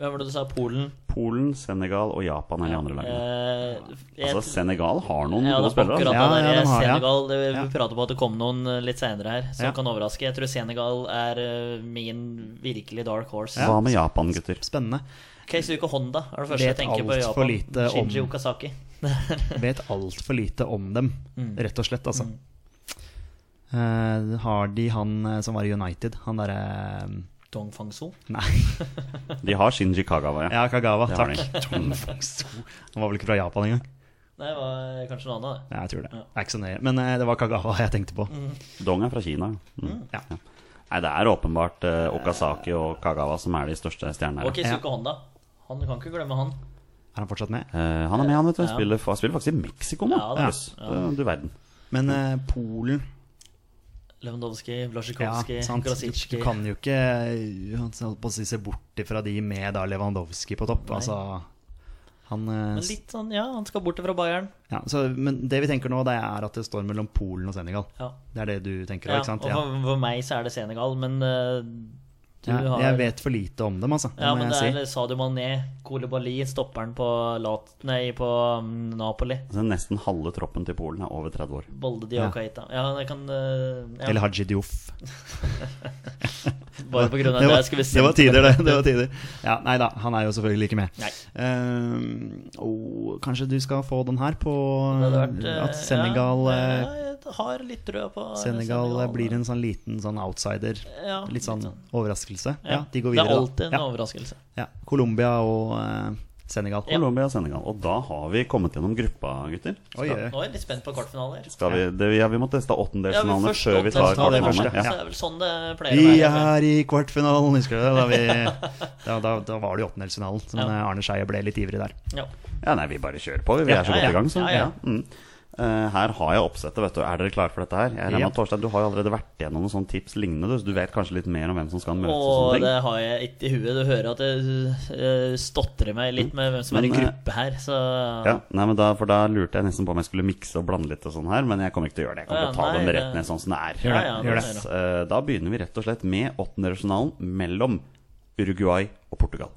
S3: Hvem var det du sa? Polen?
S2: Polen, Senegal og Japan er de andre lagene.
S3: Eh, jeg-
S2: Altså, Senegal har noen
S3: ja,
S2: gode
S3: det er
S2: spillere.
S3: akkurat
S2: Altså.
S4: Ja,
S3: det der.
S4: ja, de har, ja.
S3: Senegal, det, vi
S4: Ja.
S3: prater på at det kom noen eh, litt senere her som
S4: Ja.
S3: kan overraske. Jeg tror Senegal er eh, min virkelig dark horse.
S2: Hva med Japan, gutter?
S4: Spennende.
S3: Keisuke Honda er det første jeg
S4: Vet
S3: tenker på i
S4: alt for
S3: Japan.
S4: lite om-
S3: Shinji Okazaki.
S4: Vet altfor lite om dem,
S3: Mm.
S4: rett og slett, altså. Eh, har de han eh, som var i United, han derre eh,
S3: Dong Fangso.
S4: Nei.
S2: De har Shinji Kagawa, ja.
S4: Ja, Kagawa.
S2: Det har
S4: Takk. Tom Fangso. Han var vel ikke fra Japan engang?
S3: Nei, det var kanskje noe annet. det.
S4: Ja, jeg tror det. Det er ikke så nøye. Men eh, det var Kagawa jeg tenkte på.
S3: Mm.
S2: Dong er fra Kina. Mm.
S4: Ja.
S2: Nei, det er åpenbart eh, Okazaki og Kagawa som er de største stjernene her.
S3: Og Keisuke Honda. Han du kan ikke glemme han.
S4: Er han fortsatt med?
S2: Eh, han er med, han, vet du.
S3: Ja.
S2: Spiller, fa- spiller faktisk i Mexico nå.
S3: Ja, da.
S2: Jøss, eh, Du verden.
S4: Men eh, Polen
S3: Lewandowski,
S4: ja,
S3: Blasjikovskij,
S4: sant. Du
S3: Krasitsjki.
S4: kan jo ikke eh, han holdt på å si, se bort ifra de med da Lewandowski på topp.
S3: Nei.
S4: Altså, han eh,
S3: Men litt sånn, ja, han skal bort fra Bayern.
S4: ja, så, Men det vi tenker nå, det er at det står mellom Polen og Senegal.
S3: Ja.
S4: Det er det du tenker
S3: Ja,
S4: òg,
S3: og
S4: ikke sant? Ja.
S3: for, for meg så er det Senegal, men eh, du
S4: Ja,
S3: har
S4: jeg vet for lite om dem, altså. Det
S3: Ja,
S4: må
S3: men det
S4: jeg
S3: er
S4: si.
S3: Sadio Mané, Kolibali, stopperen på, Lat nei, på mm, Napoli.
S2: Altså, nesten halve troppen til Polen er over 30 år.
S3: Bolde Diakaita. Ja, det kan eh,
S4: Eller
S3: ja,
S4: Haji Dioff.
S3: Bare på grunn av
S4: det
S3: det,
S4: var,
S3: jeg skulle si.
S4: det var tider, det. det var tider. Ja, nei da, han er jo selvfølgelig ikke med.
S3: Nei.
S4: Ehm, og kanskje du skal få den her på
S3: Det hadde vært, eh,
S4: Mm, at Senegal,
S3: ja,
S4: eh,
S3: ja, Jeg har litt trø på eh,
S4: Senegal eh, blir en sånn liten sånn outsider.
S3: ja,
S4: Litt sånn overraskelse.
S3: ja.
S4: Ja, de går videre.
S3: Det er
S4: da.
S3: alltid en
S4: ja,
S3: overraskelse.
S4: ja. Colombia og eh, Senegal.
S3: Ja.
S2: Colombia og Senegal. Og da har vi kommet gjennom gruppa, gutter.
S4: Oi,
S2: Skal-
S4: oi.
S3: Nå er jeg litt spent på kvartfinaler.
S2: Skal vi, det, ja, vi må teste åttendelsfinalene før vi tar
S4: ta det
S2: kvartfinalene.
S4: første. ja.
S3: Så er det vel sånn det pleier å
S4: Vi
S3: være.
S4: er i kvartfinalen, husker du det? Da, vi, da, da, da var det jo åttendelsfinalen. Så
S3: Ja.
S4: eh, Arne Skeie ble litt ivrig der.
S3: Ja.
S2: Ja, nei, vi bare kjører på. Vi, vi
S4: Ja,
S2: er så
S3: ja, ja.
S2: godt i gang, så.
S3: Ja,
S2: Ja,
S3: ja.
S2: Mm. Eh, her har jeg oppsettet, vet du. Er dere klare for dette her? Jeg regner med at Torstein, du har jo allerede vært gjennom noen sånne tips lignende, du, så du vet kanskje litt mer om hvem som skal møtes og
S3: Og
S2: sånne
S3: det
S2: ting.
S3: har jeg ikke i huet. Du hører at jeg eh, stotrer meg litt med hvem som er i
S2: Men, eh,
S3: gruppe her, så
S2: Ja, nei, men da, for da lurte jeg nesten på om jeg skulle mikse og blande litt og sånn her, men jeg kommer ikke til å gjøre det. Jeg kommer
S3: Ja,
S2: til å ta
S3: nei,
S2: dem rett
S3: det-
S2: ned sånn som det er.
S3: Gjør det, Ja, ja, gjør det.
S2: Så, eh, da begynner vi rett og slett med åttendedelsfinalen mellom Uruguay og Portugal.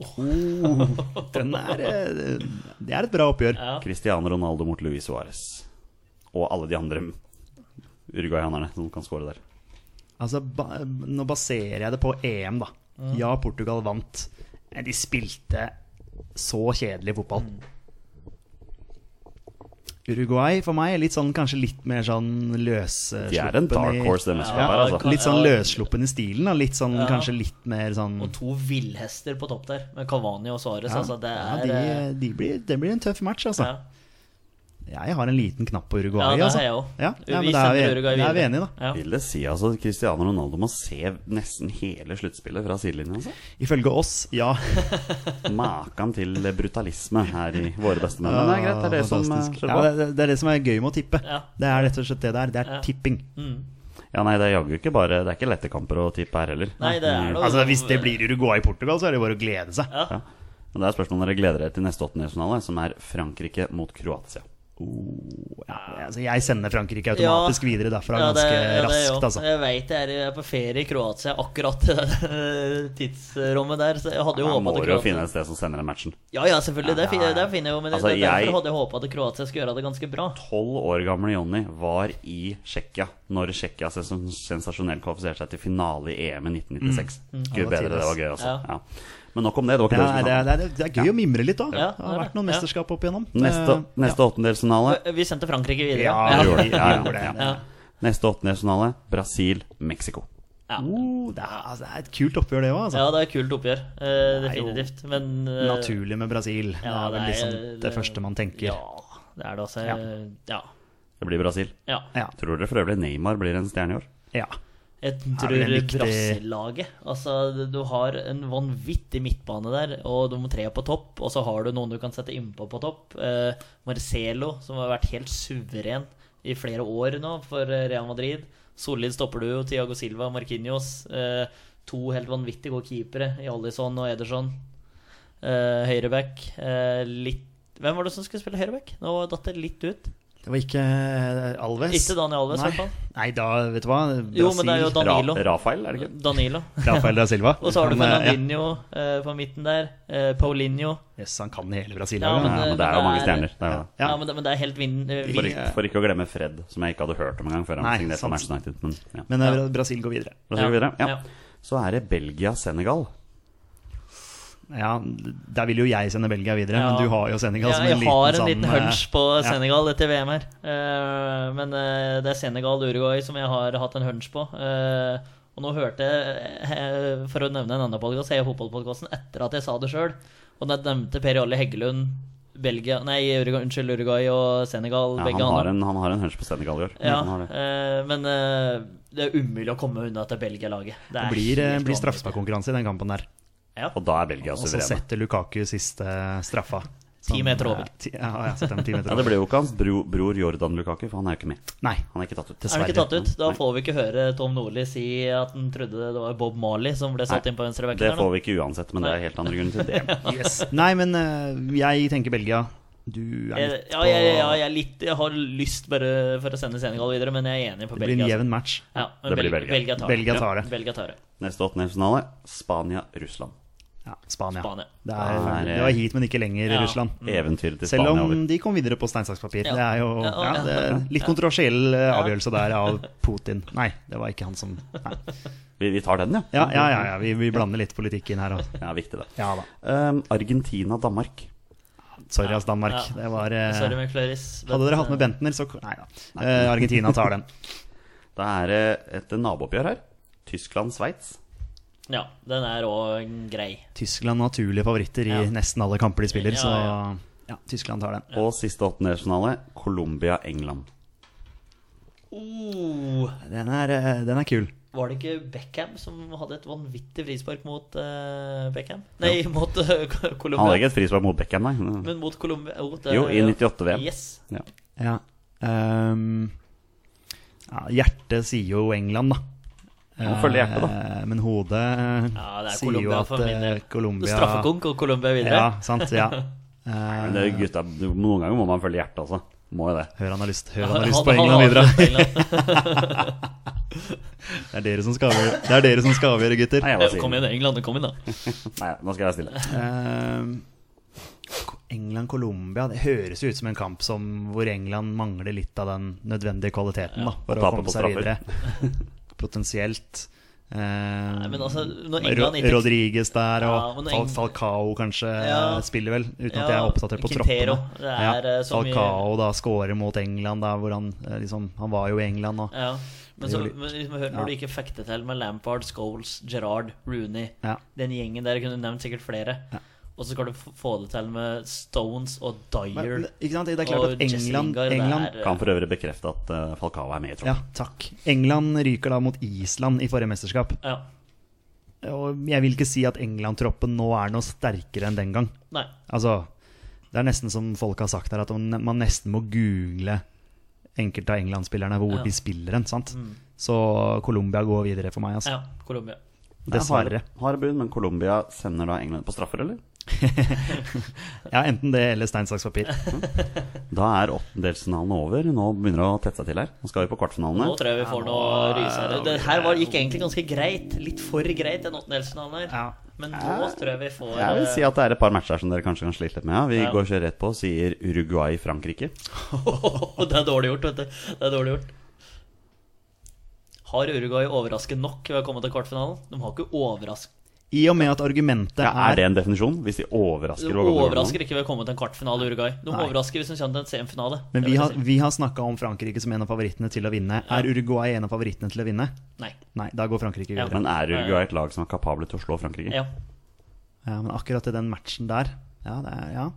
S4: Den er, eh, det er et bra oppgjør.
S3: Ja.
S2: Cristiano Ronaldo mot Luis Suárez. Og alle de andre uruguayanerne som kan score der.
S4: Altså, ba, nå baserer jeg det på EM, da.
S3: Mm.
S4: Ja, Portugal vant. Men de spilte så kjedelig fotball.
S3: Mm.
S4: Uruguay for meg er litt sånn, kanskje litt mer sånn løssluppen
S2: De er en dark horse, det mesterskapet her,
S4: i,
S2: altså.
S4: Litt sånn løssluppen i stilen. Da. Litt sånn, Kanskje litt mer sånn
S3: Og to villhester på topp der, med Cavani og Suárez. altså, det er eh,
S4: ja, de, de blir, Det blir en tøff match, altså.
S3: ja.
S4: Jeg har en liten knapp på
S3: Ja,
S4: Uruguay.
S3: det har
S4: altså.
S3: jeg også.
S4: Ja,
S3: Vi
S4: ja, men da er vi,
S3: sender Uruguay
S4: da er vi
S3: videre.
S4: enige, da.
S3: Ja.
S2: Vil det si altså at Cristiano Ronaldo må se nesten hele sluttspillet fra sidelinjen? Altså?
S4: Ifølge oss, ja.
S2: Maken til brutalisme her i våre bestemenn. Men det er greit, det er det som eh,
S4: Fantastisk.
S2: skjer
S4: ja,
S2: på.
S4: det, det er det som er gøy med å tippe.
S3: Ja.
S4: Det er rett og slett det der. Det er
S3: Ja. Mm.
S4: tipping.
S2: Ja, nei, det er jaggu ikke bare Det er ikke lette kamper å tippe her heller.
S3: Nei, det er noe
S4: Altså Hvis det blir Uruguay-Portugal, så er det bare å glede seg.
S3: ja.
S2: Ja. Men det er spørsmålet om dere gleder dere til neste åttendedelsfinale, som er Frankrike mot Kroatia.
S4: Ja, altså, jeg sender Frankrike automatisk videre derfra
S3: Ja, det-
S4: ganske
S3: ja, det er jo.
S4: raskt, altså.
S3: Jeg veit jeg er jeg er på ferie i Kroatia akkurat i det tidsrommet der, så jeg hadde jo
S2: Da
S3: håpa
S2: må
S3: at
S2: dere jo
S3: Kroatia
S2: finne et sted som sender den matchen.
S3: Ja, ja, selvfølgelig. Det, finner, det finner jeg jo, men
S2: Altså,
S3: det, derfor
S2: jeg-
S3: hadde jeg håpa at Kroatia skulle gjøre det ganske bra.
S2: Tolv år gamle Jonny var i Tsjekkia når Tsjekkia sens- sensasjonelt kvalifiserte seg til finale i EM i 1996. Gud
S4: Ja, det var
S2: bedre, det var gøy, altså.
S3: Ja.
S2: Ja. Men nok om det. Det var
S4: Det
S2: ikke
S4: er, det,
S2: som-
S4: er, det, er, det er gøy å mimre litt, da.
S3: Ja,
S4: det har
S3: det er
S4: vært noen
S3: det. Ja.
S4: mesterskap opp igjennom.
S2: Neste,
S4: Eh,
S2: neste åttendelsfinale
S3: Vi sendte Frankrike videre.
S4: Ja,
S2: Ja,
S4: vi
S2: gjorde
S4: gjorde
S2: det.
S4: det.
S2: Ja,
S4: Vi
S2: ja.
S4: gjorde det.
S3: Ja.
S2: Neste åttendelsfinale Brasil-Mexico.
S3: Ja.
S4: Oh, det, er, altså, det er et kult oppgjør, det òg. Altså.
S3: ja, det er et kult oppgjør. eh,
S4: Det er jo
S3: definitivt. Men eh,
S4: Naturlig med Brasil. det
S3: ja,
S4: er vel
S3: det er-
S4: liksom det
S3: det-
S4: første man tenker.
S3: Ja, det er det altså.
S4: Ja.
S3: Ja.
S2: Det blir Brasil.
S3: ja.
S4: Ja.
S2: Tror dere for øvrig Neymar blir en stjerne i år?
S4: ja.
S3: Jeg
S4: Er vel
S3: tror
S4: en viktig-
S3: Brasil-laget Altså, du har en vanvittig midtbane der, og de tre på topp, og så har du noen du kan sette innpå på topp. Eh, Marcelo, som har vært helt suveren i flere år nå for eh, Real Madrid. Solid stopper du jo. Tiago Silva, Marquinhos. Eh, to helt vanvittige gode keepere i Alison og Ederson. Eh, høyreback. Eh, litt Hvem var det som skulle spille høyreback? Nå datt det litt ut.
S4: Det var ikke eh, Alves.
S3: Ikke Daniel Alves, i
S4: Nei.
S3: hvert fall.
S4: Nei, da, vet du hva. Brasil
S3: Jo, men det er jo Danilo.
S2: Ra Rafael, er det ikke?
S3: Danilo.
S4: Rafael da Silva.
S3: Og så har du
S4: Han, eh, ja.
S3: Fernandinho eh, på midten der. Eh, Paulinho.
S4: Yes, han kan hele Brasil.
S3: Ja,
S2: Ja,
S4: eller?
S2: men det er jo mange stjerner. Det er jo det.
S3: Eh, Ja,
S4: Ja.
S3: men, det, men det er helt vinn... eh,
S2: For,
S3: vinn-
S2: ikke, for ikke å glemme Fred, som jeg ikke hadde hørt om engang før han
S4: Nei,
S2: signerte for Manchester
S4: sant.
S2: United. Men, ja.
S4: Men eh, Brasil går videre.
S2: Da skal vi videre.
S3: Ja.
S2: Ja. Så er det Belgia-Senegal.
S4: Ja, Der vil jo jeg sende Belgia videre,
S3: Ja.
S4: men du har jo Senegal
S3: Ja,
S4: som
S3: jeg
S4: en liten
S3: har en
S4: sånn
S3: liten
S4: eh,
S3: hunch på
S4: ja.
S3: Senegal etter VM her. Eh, men eh, det er Senegal og Uruguay som jeg har hatt en hunch på. Eh, og nå hørte jeg, eh, for å nevne en annen podkast, jeg fotballpodkasten etter at jeg sa det sjøl. Og da nevnte Per Jarle Heggelund Belgia Nei, Uruguay, unnskyld, Uruguay og Senegal.
S2: Ja,
S3: begge
S2: han, har
S3: andre.
S2: en, han har en hunch på Senegal i år.
S3: Ja,
S2: Han har det.
S3: eh, men eh, det er umulig å komme unna til Belgia-laget.
S4: Det
S3: er
S4: blir, eh,
S3: helt
S4: blir
S3: vanvittig.
S4: straffesparkkonkurranse i den kampen der.
S3: Ja.
S2: Og da er Belgia
S4: Og så
S2: suverene.
S4: setter Lukaku siste eh, straffa.
S3: Ti
S4: Som,
S3: meter
S4: eh,
S3: over.
S4: ti- Ja, jeg setter den ti meter
S2: Ja, det
S4: over.
S2: blir jo ikke hans bro, bror Jordan Lukaku, for han er jo ikke med.
S4: Nei.
S2: Han er ikke tatt ut.
S3: Er han ikke tatt ut? Da
S2: Nei.
S3: får vi ikke høre Tom Nordli si at han trodde det var Bob Marley som ble satt
S2: Nei,
S3: inn på venstre
S2: Det
S3: bekken.
S2: får vi ikke uansett, men det er
S3: Nei.
S2: helt andre grunner til det.
S4: Yes. Nei, men eh, jeg tenker Belgia. Du er litt
S3: Eh, Ja,
S4: på
S3: jeg, ja, jeg, er litt, jeg har lyst bare for å sende Senegal videre, men jeg er enig på
S4: Det blir
S3: Belgia.
S4: en
S3: altså.
S4: jevn match.
S3: Ja, men
S2: Det blir
S3: Belgia.
S2: Belgia.
S3: Belgia tar det. Ja,
S4: Belgia tar det.
S3: Belgia tar det.
S2: Neste åttendelsfinale Spania-Russland.
S4: Ja, Spania.
S3: Spania.
S4: Det, er,
S2: Der, eh,
S4: det var hit, men ikke lenger
S3: Ja.
S4: i Russland.
S2: Eventyret til
S4: Mm. Selv
S2: Spania over.
S4: om de kom videre på stein, saks, papir.
S3: Ja.
S4: Det er jo
S3: Ja, og-
S4: ja,
S3: ja.
S4: det er litt kontroversiell eh, avgjørelse der av Putin. Nei, det var ikke han som Nei.
S2: Vi, vi tar den, ja.
S4: Ja, ja, ja, ja vi, vi blander litt politikk inn her. Også.
S2: Ja, viktig det.
S4: Ja da.
S2: Ehm, Argentina-Danmark.
S4: Sorry, ass, Danmark.
S3: Ja.
S4: Det var eh,
S3: Sorry med Clarice.
S4: Hadde dere hatt med Bentner, så Nei da. Eh, Argentina tar den.
S2: Da er det et nabooppgjør her.
S3: eh,
S2: Tyskland-Sveits.
S3: Ja, den er òg grei.
S4: Tyskland naturlige favoritter i
S3: Ja.
S4: nesten alle kamper de spiller,
S3: Ja,
S4: så
S3: ja.
S4: ja, Tyskland tar den.
S2: Og siste åttendedelsfinale, Colombia-England.
S3: Oh,
S4: Den er, eh, den er kul.
S3: var det ikke Beckham som hadde et vanvittig frispark mot eh, Beckham? Nei, mot eh, Ko-
S2: Han hadde
S3: Colombia.
S2: ikke et frispark mot Beckham, nei.
S3: Men mot Colombia oh, det-
S2: Jo, i 98-VM.
S3: Yes.
S2: Ja.
S4: Ja. Ehm, ja, hjertet sier jo England, da.
S2: Man følger hjertet,
S4: Eh, Men hodet eh,
S3: Ja, det er
S4: sier jo
S3: Colombia
S4: at
S3: for min del.
S4: eh, Colombia
S3: Straffekonk og Colombia videre.
S4: Ja, sant. Ja. Eh,
S2: Men det, er gutta, du- noen ganger må man følge hjertet, altså. Må jo det.
S4: Hør han har lyst, hør
S3: Ja,
S4: han har
S3: han-
S4: lyst på
S3: han
S4: England
S3: har
S4: videre.
S3: lyst på England.
S4: Det er dere som skal avgjøre, det er dere som skal avgjøre gutter.
S2: Nei, jeg var
S3: Kom
S2: siden.
S3: igjen, England. Kom inn, da.
S2: Nei, nå skal jeg være stille.
S4: Eh, Ko- England-Colombia Det høres jo ut som en kamp som, hvor England mangler litt av den nødvendige kvaliteten da, for
S2: og
S4: å
S2: taper
S4: komme
S2: på
S4: seg videre.
S2: straffer.
S4: Potensielt. Eh,
S3: Nei, men altså, når
S4: Ro-
S3: England ikke
S4: Rodriguez der,
S3: Ja,
S4: og
S3: men når
S4: Fal
S3: Eng-
S4: Falcao kanskje
S3: Ja.
S4: eh, spiller vel, uten
S3: Ja,
S4: at jeg er oppdatert på
S3: Quintero.
S4: troppene.
S3: Det er, eh, så mye-
S4: Falcao da scorer mot England, da, hvor han eh, liksom Han var jo i England nå.
S3: Ja, men
S4: Det
S3: så,
S4: gjorde-
S3: men liksom, hør, når du ikke fikk det til med Lampard, Scholes, Gerrard, Rooney
S4: Ja.
S3: Den gjengen der kunne du nevnt sikkert flere. Og så skal du f- få det til med Stones og
S4: Men,
S3: Dyer.
S4: men, ikke sant? Det er klart
S3: og
S4: at
S3: Jesse
S4: England,
S3: Lingard, det
S4: England
S3: er-
S2: Kan for øvrig bekrefte at eh, Falcao er med i
S4: Ja,
S2: troppen.
S4: takk. England ryker da mot Island i forrige mesterskap.
S3: ja.
S4: Og jeg vil ikke si at England-troppen nå er noe sterkere enn den gang.
S3: Nei.
S4: Altså, det er nesten som folk har sagt her, at man man nesten må google enkelte av England-spillerne
S3: Ja.
S4: hvor
S3: Mm.
S4: de spiller hen, sant? Så Colombia går videre for meg, altså.
S3: Ja, Colombia.
S4: Dessverre.
S2: Har bud, men Colombia sender da England på straffer, eller?
S4: Ja, enten det eller stein, saks, papir.
S2: Da er åttendelsfinalen over. Nå begynner det å tette seg til her. Nå skal vi på
S3: Nå
S2: kvartfinalene.
S3: tror jeg vi får noe ryse her. Det her var, gikk egentlig ganske greit. Litt for greit, den åttendelsfinalen her.
S4: Ja.
S3: Men nå tror jeg vi får
S2: Jeg vil si at det er et par matcher her som dere kanskje kan slite litt med. Ja. Vi
S3: Ja.
S2: går ikke rett på og sier Uruguay-Frankrike.
S3: Det er dårlig gjort, vet du. Det er dårlig gjort. Har Uruguay overrasket nok ved å komme til kvartfinalen? De har ikke overrasket
S4: I og med at argumentet
S2: Ja, er
S4: er
S2: det en definisjon? Hvis de overrasker
S3: De
S2: og går til
S3: overrasker ikke ved å komme til en kvartfinale, Uruguay. De
S4: Nei.
S3: overrasker hvis de kommer til en semifinale.
S4: Men
S3: Det
S4: vi
S3: vil jeg
S4: har,
S3: si.
S4: vi har snakka om Frankrike som en av favorittene til å vinne. Er Uruguay en av favorittene til å vinne?
S3: Nei.
S4: Nei, da går Frankrike
S3: Ja.
S4: videre.
S2: Men er Uruguay et lag som er kapable til å slå Frankrike?
S3: Ja.
S4: Ja, men akkurat i den matchen der Ja, det er, ja.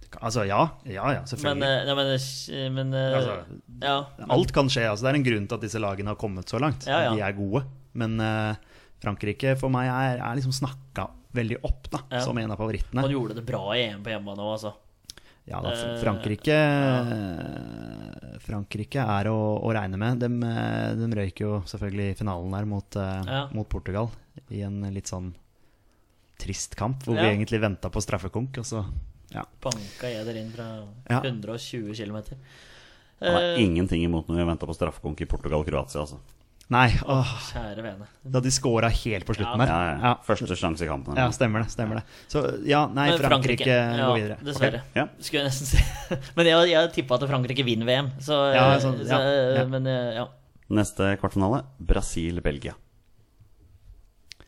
S4: Det kan- Altså, ja. Ja, ja,
S3: Men,
S4: selvfølgelig.
S3: eh, ja, men, eh, men eh,
S4: Altså,
S3: ja.
S4: Alt kan skje. altså Det er en grunn til at disse lagene har kommet så
S3: Mm.
S4: langt.
S3: Ja, ja.
S4: De er gode. Men eh, Frankrike for meg er, er liksom snakka veldig opp da,
S3: Ja.
S4: som en av favorittene.
S3: Man gjorde det bra i EM på hjemmebane òg, altså.
S4: Ja, da, Fr-
S3: Eh,
S4: Frankrike Frankrike er å, å regne med. De, røyker jo selvfølgelig i finalen der mot, eh,
S3: Ja.
S4: mot Portugal i en litt sånn trist kamp, hvor
S3: Ja.
S4: vi egentlig venta på straffekonk, og så ja.
S3: Banka jeg der inn fra
S4: Ja.
S3: 120 km.
S2: Jeg
S3: Eh,
S2: har ingenting imot når vi venter på straffekonk i Portugal-Kroatia, altså.
S4: Nei, åh,
S3: Kjære vene.
S4: da de scora helt på slutten
S3: Ja.
S2: Ja,
S4: der.
S2: ja. Første sjanse i kampen.
S4: Ja, stemmer det. stemmer det Så ja, nei,
S3: Men
S4: Frankrike, går videre.
S3: Ja, dessverre.
S2: Ja.
S3: Skulle jeg nesten si. Men jeg, jeg tippa at Frankrike vinner VM, så, eh,
S4: Ja, sånn, ja,
S3: så eh,
S4: ja.
S3: Men eh, ja.
S2: Neste kvartfinale, Brasil-Belgia.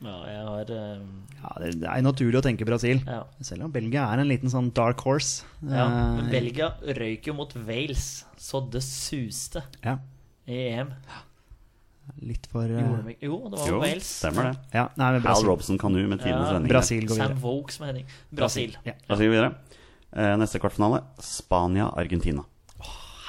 S3: ja. Jeg har eh,
S4: Ja, det det er naturlig å tenke Brasil.
S3: Ja.
S4: Selv om Belgia er en liten sånn dark horse.
S3: ja.
S4: Eh,
S3: Men Belgia røyk jo mot Wales, så det suste
S4: ja,
S3: i EM.
S4: litt for eh,
S3: Gjorde de ikke- Jo, det var
S2: Jo,
S3: Wales.
S2: stemmer det.
S4: ja, nei,
S2: Hal
S4: men Brasil.
S2: Robson Kanu med tidenes
S3: Ja.
S2: vending. der.
S4: Brasil går
S3: Sam
S4: videre.
S3: Vogue, som heter. Brasil.
S4: Ja.
S2: Brasil går videre. Eh, Neste kvartfinale, Spania-Argentina.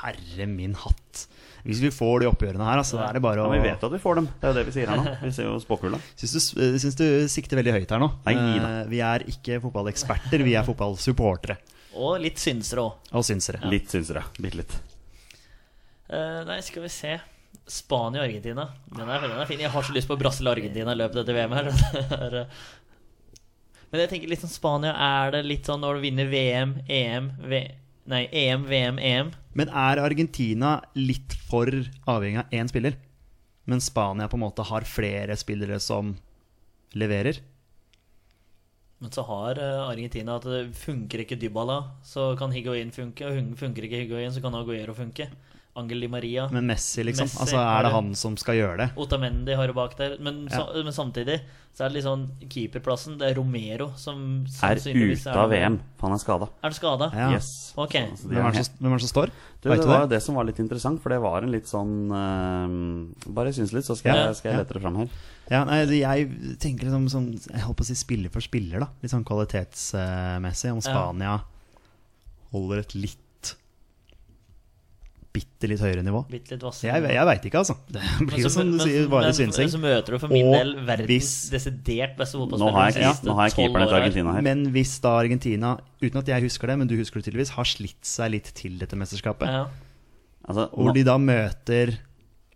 S4: Herre min hatt. Hvis vi får de oppgjørene her, altså, da er det bare
S2: Ja,
S4: å
S2: vi vet at vi får dem. Det er jo det vi sier her nå. Vi ser jo spåkula.
S4: Syns du, eh, syns du sikter veldig høyt her nå?
S2: Nei, da.
S4: Eh, vi er ikke fotballeksperter, vi er fotballsupportere
S3: Og litt synsere òg.
S4: og synsere.
S2: Litt, syns dere. Bitte litt.
S3: Eh, nei, skal vi se. Spania og Argentina. Den er, den er fin. Jeg har så lyst på Brasil og Argentina i løpet av dette VM her. Det er, eh, Men jeg tenker litt sånn Spania er det litt sånn når du vinner VM, EM, v Nei, E EM, VM, EM.
S4: Men er Argentina litt for avhengig av én spiller? Men Spania på en måte har flere spillere som leverer?
S3: Men så har eh, Argentina at det funker ikke Dybala, så kan Higuain funke. Og hun- funker ikke Higuain, så kan Aguero funke. Angel Di Maria.
S4: Men Messi, liksom.
S3: Messi,
S4: altså,
S3: har
S4: er det
S3: du-
S4: han som skal gjøre det?
S3: Otamendi har du bak der. Men, sa- men samtidig så er det litt sånn keeperplassen. Det er Romero som
S2: Er
S3: sannsynligvis
S2: ute av VM, for han er skada.
S3: Er han skada?
S4: Ja.
S2: Yes.
S3: Ok.
S2: Så de
S4: Hvem
S2: er
S4: er det
S2: med.
S4: som, hvem er det som står?
S2: Du,
S4: Vet
S2: det
S4: du
S2: var jo
S4: det?
S2: det som var litt interessant, for det var en litt sånn eh, Bare syns litt, så skal
S4: Ja.
S2: jeg, skal jeg lette det fram her.
S4: Ja, nei, det- jeg tenker liksom som Jeg holdt på å si spiller for spiller, da. Litt sånn kvalitetsmessig. Om
S3: Ja.
S4: Spania holder et litt Bitte litt høyere nivå.
S3: Bitt litt vassere.
S4: Jeg, jeg veit ikke, altså. Det blir jo som du sier, bare synsing.
S3: Så møter du for min
S4: Og
S3: del verdens
S4: hvis-
S3: desidert beste
S2: Nå har
S3: fotballspiller
S2: jeg, ja, nå har jeg keeperne til Argentina her.
S4: Men hvis da Argentina, uten at jeg husker det, men du husker det tydeligvis, har slitt seg litt til dette mesterskapet,
S3: Ja.
S2: Altså,
S4: hvor
S2: nå,
S4: de da møter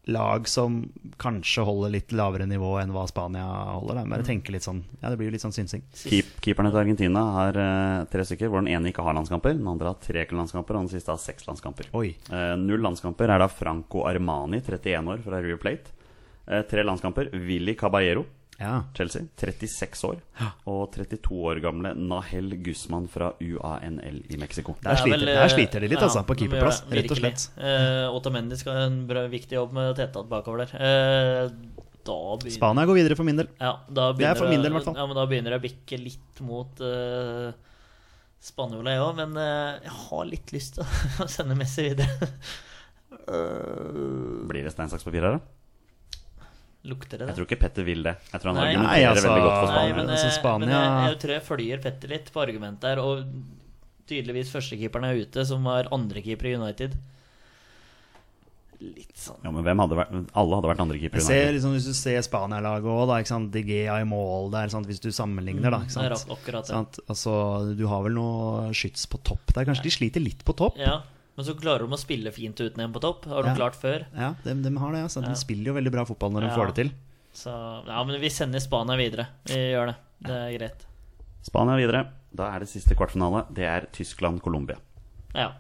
S4: lag som kanskje holder litt lavere nivå enn hva Spania holder, da.
S3: Mm.
S4: Bare tenke litt sånn Ja, det blir jo litt sånn synsing.
S2: keep, keeperne til Argentina har eh, tre stykker, hvor den ene ikke har landskamper, den andre har tre landskamper, og den siste har seks landskamper.
S4: Oi.
S2: Eh, null landskamper er da Franco Armani, 31 år, fra River Plate. Eh, tre landskamper Willy Caballero,
S4: Ja.
S2: Chelsea, 36 år. Og 32 år gamle Nahel Guzman fra UANL i Mexico.
S4: Der
S3: Det er
S4: sliter,
S3: vel,
S4: der sliter de litt,
S3: ja,
S4: altså, på
S3: de gjør
S4: keeperplass,
S3: det,
S4: rett og
S3: virkelig.
S4: slett.
S3: Eh, Otamendi skal ha en bra, viktig jobb med å tette att bakover der. Eh, da begynner
S4: Spania går videre for min del.
S3: Ja, da
S4: Det er for
S3: begynner
S4: min
S3: jeg-
S4: del, i hvert fall.
S3: Ja, men da begynner jeg å bikke litt mot uh, spanjola, jeg òg. Men eh, jeg har litt lyst til å sende Messi videre.
S2: Blir det stein, saks, papir her, da?
S3: Lukter det
S2: Jeg
S3: det?
S2: tror ikke Petter vil det. Jeg tror han
S3: Nei.
S2: argumenterer
S4: Nei, altså,
S2: veldig godt for
S3: Nei,
S2: Spania.
S4: Spania.
S3: men,
S4: Altså,
S3: eh,
S4: Spania-
S3: men jeg, jeg tror jeg følger Petter litt på argumentet her. Og tydeligvis førstekeeperen er ute, som var andrekeeper i United. Litt sånn
S2: Ja, men hvem hadde vært, alle hadde vært andrekeeper.
S4: Jeg ser, liksom, hvis du ser Spania-laget òg, da. Ikke sant? De Gea i mål der, sant? hvis du sammenligner, da. Ikke
S3: Mm, det er
S4: sant?
S3: ak- akkurat det.
S4: Sant? Altså, du har vel noe skyts på topp der. Kanskje de sliter litt på topp?
S3: Ja, men så klarer de å spille fint uten en på topp. Har de
S4: Ja.
S3: klart før.
S4: Ja, de, de har det. Altså. De
S3: Ja.
S4: spiller jo veldig bra fotball når de
S3: Ja.
S4: får det til.
S3: Så ja, men vi sender Spania videre. Vi gjør det. Det er greit.
S2: Spania videre. Da er det siste kvartfinale. Det er Tyskland-Colombia.
S3: Ja.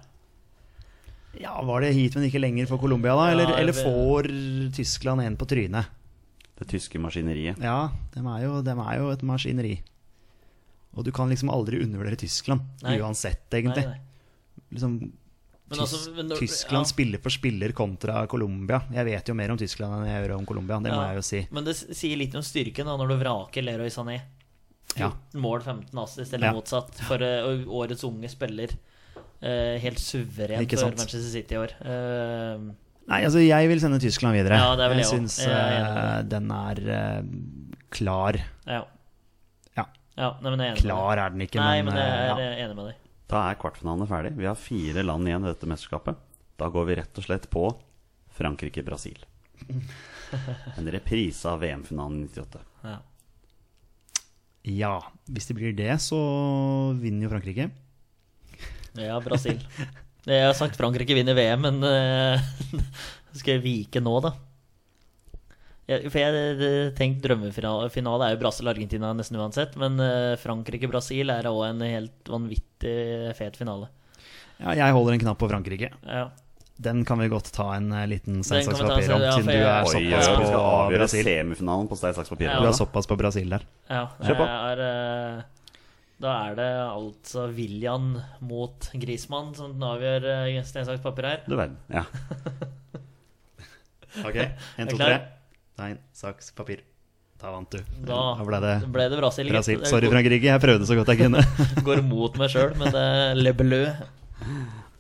S4: Ja, Var det hit, men ikke lenger for Colombia, da? Eller,
S3: Ja,
S4: eller
S3: det-
S4: får Tyskland en på trynet?
S2: Det tyske maskineriet.
S4: Ja, de er jo, dem er jo et maskineri. Og du kan liksom aldri undervurdere Tyskland,
S3: Nei.
S4: uansett, egentlig.
S3: Nei, nei.
S4: Liksom,
S3: Men
S4: Tys
S3: altså, men når-
S4: Tyskland
S3: ja.
S4: spiller for spiller kontra Colombia. Jeg vet jo mer om Tyskland enn jeg gjør om Colombia, det må
S3: Ja.
S4: jeg jo si.
S3: Men det s- sier litt om styrken da, når du vraker Leroy Sané.
S4: Ja.
S3: 14 mål, 15 assist, eller
S4: Ja.
S3: motsatt. For eh, og årets unge spiller. eh, helt suveren
S4: Ikke
S3: for
S4: sant.
S3: Manchester City i år. Eh,
S4: Nei, altså jeg vil sende Tyskland videre.
S3: Ja, det er vel
S4: jeg
S3: jeg også.
S4: syns
S3: Jeg er enig
S4: eh, den er eh, klar.
S3: ja.
S4: Ja.
S3: ja. Nei, men jeg er enig med deg.
S4: Klar er den ikke,
S3: Nei,
S4: men,
S3: men jeg
S4: eh,
S3: er
S4: ja.
S3: eh, enig med deg.
S2: Da er kvartfinalene ferdig. Vi har fire land igjen i dette mesterskapet. Da går vi rett og slett på Frankrike-Brasil. En reprise av VM-finalen i 98.
S3: Ja.
S4: ja. Hvis det blir det, så vinner jo Frankrike.
S3: Ja, Brasil. Jeg har sagt Frankrike vinner VM, men eh, skal jeg vike nå, da? Jeg, for jeg eh, tenkte drømmefinale er jo Brasil-Argentina nesten uansett, men eh, Frankrike-Brasil er òg en helt vanvittig fet finale.
S4: Ja, jeg holder en knapp på Frankrike.
S3: Ja.
S4: Den kan vi godt ta en eh, liten
S3: Den kan vi ta en
S4: sensakspapir
S3: sen-
S4: om,
S3: ja,
S4: siden
S3: for
S4: du
S3: jeg-
S4: er
S2: Oi,
S3: såpass
S2: ja,
S4: såpass
S2: vi skal
S4: på
S2: avgjøre
S4: Brasil.
S2: semifinalen på stein, saks, papir.
S3: Ja.
S4: Du er
S2: altså.
S4: såpass på Brasil der.
S3: ja
S2: Kjør på.
S3: det er, eh, da er det altså William mot Grismann som den avgjør eh, stein, saks, papir her.
S2: Du verden. Ja.
S4: Ok,
S3: Er
S4: en,
S3: du
S4: to,
S3: klar?
S4: tre. Stein, saks, papir. Da vant du.
S3: Da
S4: ble det
S3: ble det Brasil. gitt.
S4: Brasil.
S3: Det
S4: Sorry, Frankrike. Jeg prøvde så godt jeg kunne.
S3: går, går mot meg sjøl, men det er le bleu.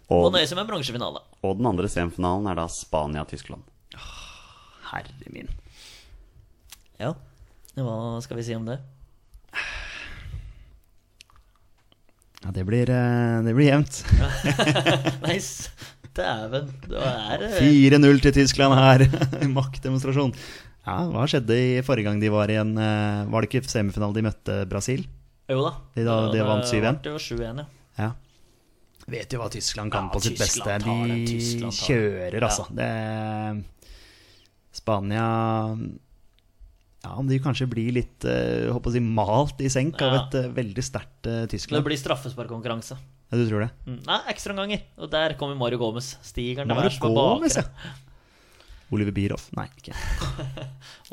S3: Må
S2: Og,
S3: nøye seg med en bronsefinale.
S2: og den andre semifinalen er da Spania-Tyskland.
S4: Herre min.
S3: Ja, hva skal vi si om det?
S4: Ja, det blir, eh, det blir jevnt.
S3: Nei, s- dæven. Det er eh,
S4: 4-0 til Tyskland her. Maktdemonstrasjon. Ja, Hva skjedde i forrige gang de var i en eh, Var det ikke semifinale de møtte Brasil?
S3: Jo da.
S4: De da- de
S3: Det
S4: vant 7-1.
S3: ble jo 7-1, ja.
S4: Ja. Vet jo hva Tyskland kan
S3: Ja,
S4: på sitt
S3: Tyskland tar
S4: beste.
S3: det,
S4: De
S3: Tyskland tar det.
S4: kjører, altså. Det, Spania Ja, om de kanskje blir litt eh, håper å si, malt i senk av
S3: Ja.
S4: et eh, veldig sterkt eh,
S3: Det
S4: Tyskland.
S3: blir straffesparkkonkurranse.
S4: Ja, du tror det?
S3: Mm. Nei, ekstraomganger. Og der kommer Mario Gomez. Stiger han til
S4: Mario
S3: værs på
S4: Gomez,
S3: bakre.
S4: ja. Oliver Bierhoff? Nei, ikke.